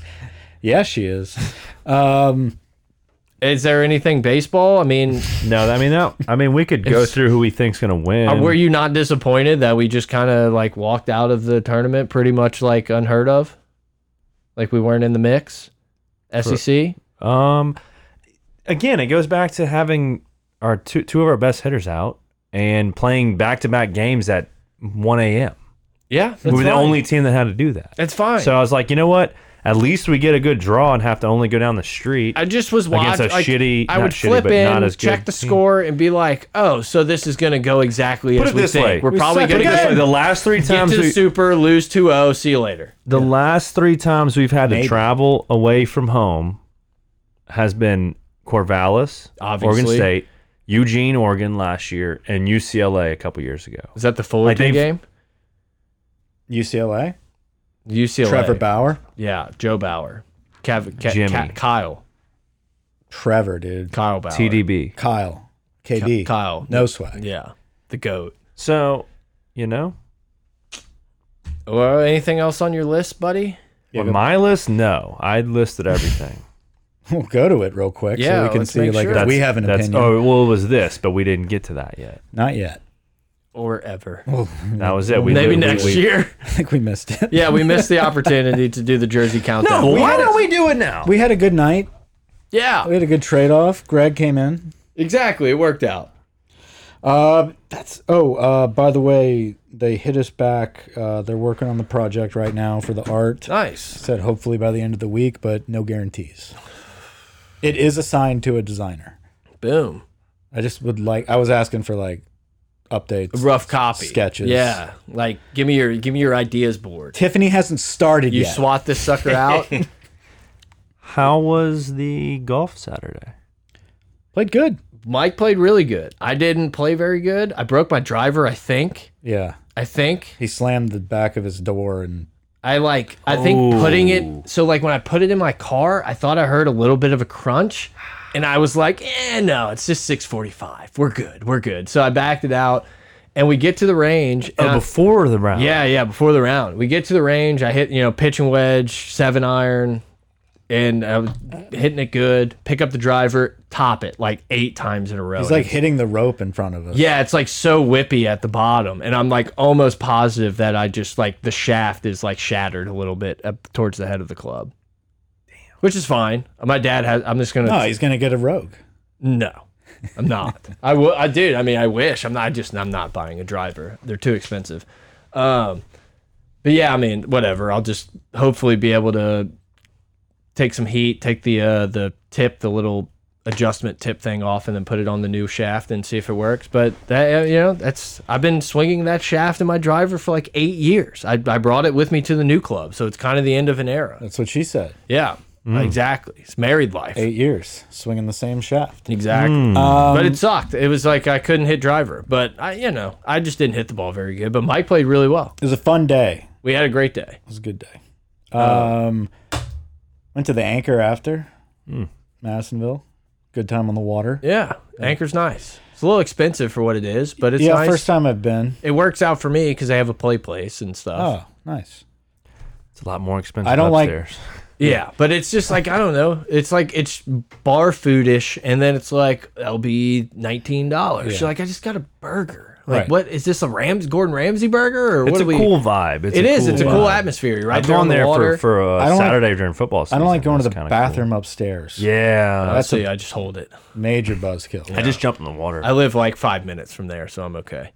C: Yeah, she is. Um
D: Is there anything baseball? I mean, uh,
B: No, I mean no. I mean we could go through who we think's gonna win.
D: were you not disappointed that we just kind of like walked out of the tournament pretty much like unheard of? Like we weren't in the mix? E SEC?
B: Um, again, it goes back to having our two two of our best hitters out and playing back to back games at 1 a.m.
D: Yeah. That's
B: We were the
D: fine.
B: only team that had to do that.
D: That's fine.
B: So I was like, you know what? At least we get a good draw and have to only go down the street.
D: I just was
B: Against
D: watching.
B: a
D: like,
B: shitty-
D: I
B: not
D: would
B: shitty,
D: flip
B: but
D: in,
B: not as
D: check
B: good
D: the
B: team.
D: score, and be like, "Oh, so this is going to go exactly
B: Put
D: as
B: it
D: we
B: this
D: think.
B: way.
D: We're
B: We
D: probably
C: suck
D: going to
C: again.
D: go
B: the last three
D: get
B: times
D: to the
B: we,
D: super, lose 2-0, see you later."
B: the last three times we've had to
C: Maybe.
B: travel away from home has been Corvallis, Oregon
D: Obviously.
B: State, Eugene, Oregon last year, and UCLA a couple years ago.
D: Is that the Fullerton
B: they've-
D: game?
C: UCLA.
D: UCLA.
C: Trevor Bauer.
D: Yeah, Joe Bauer. Cav, Ca-
B: Jimmy.
D: Ca- Kyle.
C: Trevor, dude.
D: Kyle Bauer.
B: TDB.
C: Kyle. KD.
D: Kyle.
C: No swag.
D: Yeah, the goat.
B: So, you know,
D: Well, anything else on your list, buddy?
C: Yeah,
B: on
C: go-
B: my list, no, I listed everything.
C: We'll go to it real quick
D: Yeah,
C: so we can
D: let's
C: see
D: make
C: like
D: sure.
C: if we have an
B: That's-
C: opinion.
B: Oh, well, it was this, but we didn't get to that yet.
D: oh.
C: Not yet.
D: Or ever?
B: That was it. We
D: Maybe
B: we-
D: next
B: we-
D: year.
C: I think we missed it.
D: Yeah, we missed the opportunity to do the Jersey countdown.
B: No, why don't we do it now?
C: We had a good night. We
D: Yeah,
C: had a good trade off. Greg came in.
D: exactly. It worked out.
C: Uh, that's oh. Uh, by the way, they hit us back. Uh, they're working on the project right now for the art.
D: Nice.
C: Said hopefully by the end of the week, but no guarantees. It is assigned to a designer.
D: Boom.
C: I just would like. I was asking for like updates.
D: rough copy
C: sketches.
D: Yeah, like give me your give me your ideas board.
C: Tiffany hasn't started
D: You
C: yet.
D: swat this sucker out.
B: How was the golf Saturday?
C: Played good.
D: Mike played really good. I didn't play very good. I broke my driver. I think.
C: Yeah,
D: I think.
C: he slammed the back of his door and
D: I like. I think putting it. So like when I put it in my car, I thought I heard a little bit of a crunch, and I was like, "Eh, no, it's just 6:45. We're good. We're good." So I backed it out, and we get to the range. and
B: Oh,
D: I-
B: before the round.
D: Uh, yeah, yeah, before the round. We get to the range. I hit, you know, pitch and wedge, seven iron, and I was hitting it good. Pick up the driver, top it like eight times in a row.
C: He's like hitting the rope in front of us.
D: yeah, it's like so whippy at the bottom. And I'm like almost positive that I just like the shaft is like shattered a little bit up towards the head of the club. Which is fine. My dad has, I'm just going to.
C: No, he's gonna get a rogue.
D: No, I'm not. I would. I did. I mean, I wish. I'm not. I just. I'm not buying a driver. They're too expensive. Um, but yeah, I mean, whatever. I'll just hopefully be able to take some heat, take the uh, the tip, the little adjustment tip thing off, and then put it on the new shaft and see if it works. But that uh, you know, that's I've been swinging that shaft in my driver for like eight years. I I brought it with me to the new club, so it's kind of the end of an era.
C: That's what she said.
D: Yeah. Exactly. It's married life.
C: Eight years swinging the same shaft.
D: Exactly.
B: Hmm.
D: but it sucked. It was like I couldn't hit driver, but I, you know, I just didn't hit the ball very good. But Mike played really well.
C: It was a fun day.
D: We had a great day.
C: It was a good day.
D: Oh.
C: Um, went to the anchor after
D: Hmm.
C: Madisonville. Good time on the water.
D: Yeah, anchor's nice. It's a little expensive for what it is, but it's
C: yeah,
D: nice.
C: first time I've been.
D: it works out for me because I have a play place and stuff.
C: Oh, nice.
B: It's a lot more expensive.
C: I don't like-
B: upstairs.
D: Yeah, but it's just like I don't know. It's like it's bar foodish, and then it's like that'll be nineteen dollars. You're like I just got a burger. Like
C: Right.
D: what is this a Rams Gordon Ramsay burger or
B: It's
D: what
B: a
D: are we?
B: cool vibe. It's
D: it
B: a
D: is.
B: Cool
D: It's a
B: vibe.
D: cool atmosphere. Right
B: I've gone
D: there,
B: there
D: on the water.
B: for, for a
C: I don't like-
B: Saturday during football season.
C: I don't like going to
B: That's
C: the
B: kinda
C: bathroom upstairs.
B: Cool. Yeah.
D: That's I just hold it.
C: Major buzzkill.
B: I just jumped in the water.
D: I live like five minutes from there, so I'm okay.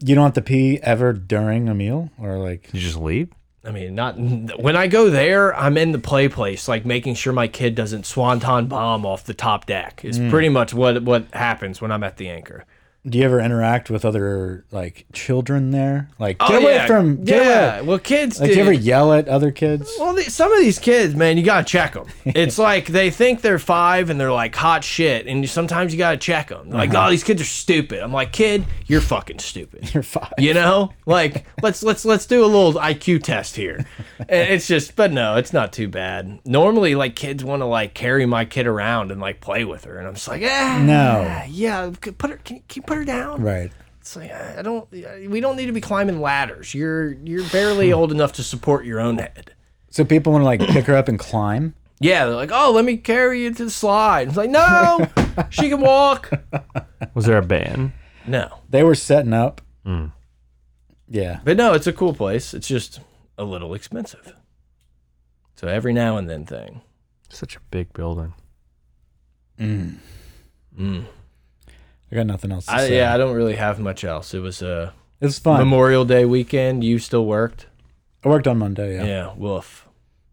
C: You don't have to pee ever during a meal or like.
B: you just leave?
D: I mean, not when I go there, I'm in the play place, like making sure my kid doesn't swanton bomb off the top deck. Is
C: Mm.
D: pretty much what what happens when I'm at the anchor.
C: Do you ever interact with other like children there? Like get
D: Oh,
C: away
D: yeah.
C: from get
D: yeah.
C: away.
D: Well, kids
C: Like
D: do.
C: do you ever yell at other kids?
D: Well, the, some of these kids, man, you gotta check them. It's like they think they're five and they're like hot shit, and you, sometimes you gotta check them. Like, oh, these kids are stupid. I'm like, kid, you're fucking stupid.
C: Uh-huh. You're five.
D: You know, like let's let's let's do a little IQ test here. And It's just, but no, it's not too bad. Normally, like kids want to like carry my kid around and like play with her, and I'm just like, ah,
C: No.
D: yeah, c- put her, can you, can you put her down?
C: Right.
D: It's like I don't, we don't need to be climbing ladders. You're you're barely old enough to support your own head.
C: So people want to like pick her up and climb.
D: Yeah, they're like, oh, let me carry you to the slide. It's like, no, she can walk.
B: Was there a ban?
D: No,
C: They were setting up.
D: Hmm.
C: Yeah.
D: but no, it's a cool place. It's just a little expensive. So every now and then thing.
B: Such a big building.
C: I got nothing else to
D: I,
C: say.
D: yeah, I don't really have much else. It was a
C: It was fun.
D: Memorial Day weekend. You still worked?
C: I worked on Monday. Yeah.
D: Yeah, woof.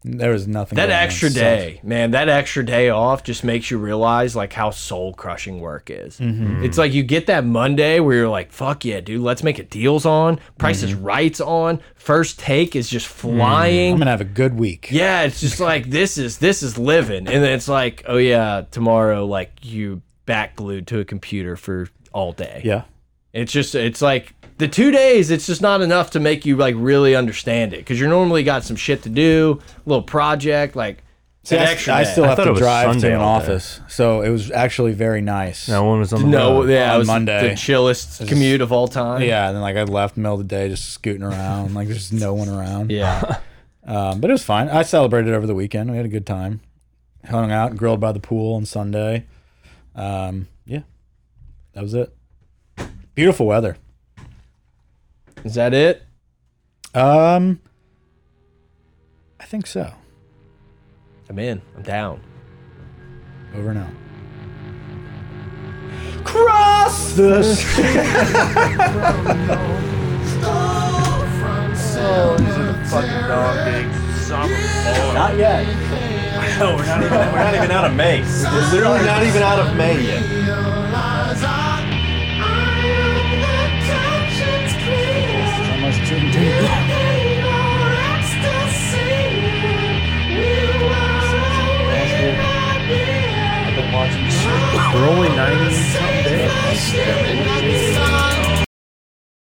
C: There was nothing.
D: That
C: going on,
D: extra
C: so-
D: day, man, that extra day off just makes you realize like how soul crushing work is. It's like you get that Monday where you're like, fuck yeah, dude, let's make a deals on, Price is Rights on, First Take is just flying.
C: I'm gonna have a good week.
D: Yeah, it's just like this is this is living, and then it's like, oh yeah, tomorrow like you back glued to a computer for all day.
C: Yeah.
D: It's just it's like the two days. It's just not enough to make you like really understand it because you're normally got some shit to do, a little project, like
C: See,
D: an
C: I,
D: extra.
C: I
D: day.
C: still
B: I
C: have
B: thought it
C: to
B: was
C: drive
B: Sunday
C: to an
B: all day.
C: office, so it was actually very nice.
B: No one was on the
D: no,
B: road.
D: yeah,
C: on
D: it was
C: Monday.
D: the chillest commute of all time.
C: Yeah, and then like I left middle of the day just scooting around, like there's no one around.
D: yeah,
C: Um, but it was fine. I celebrated over the weekend. We had a good time, hung out, and grilled by the pool on Sunday. Um, yeah, that was it. Beautiful weather.
D: is that it?
C: Um, I think so.
D: I'm in. I'm down.
C: Over now. Cross the. Not yet.
B: No, we're not even, we're not even out of May. We're literally not even out of May yet.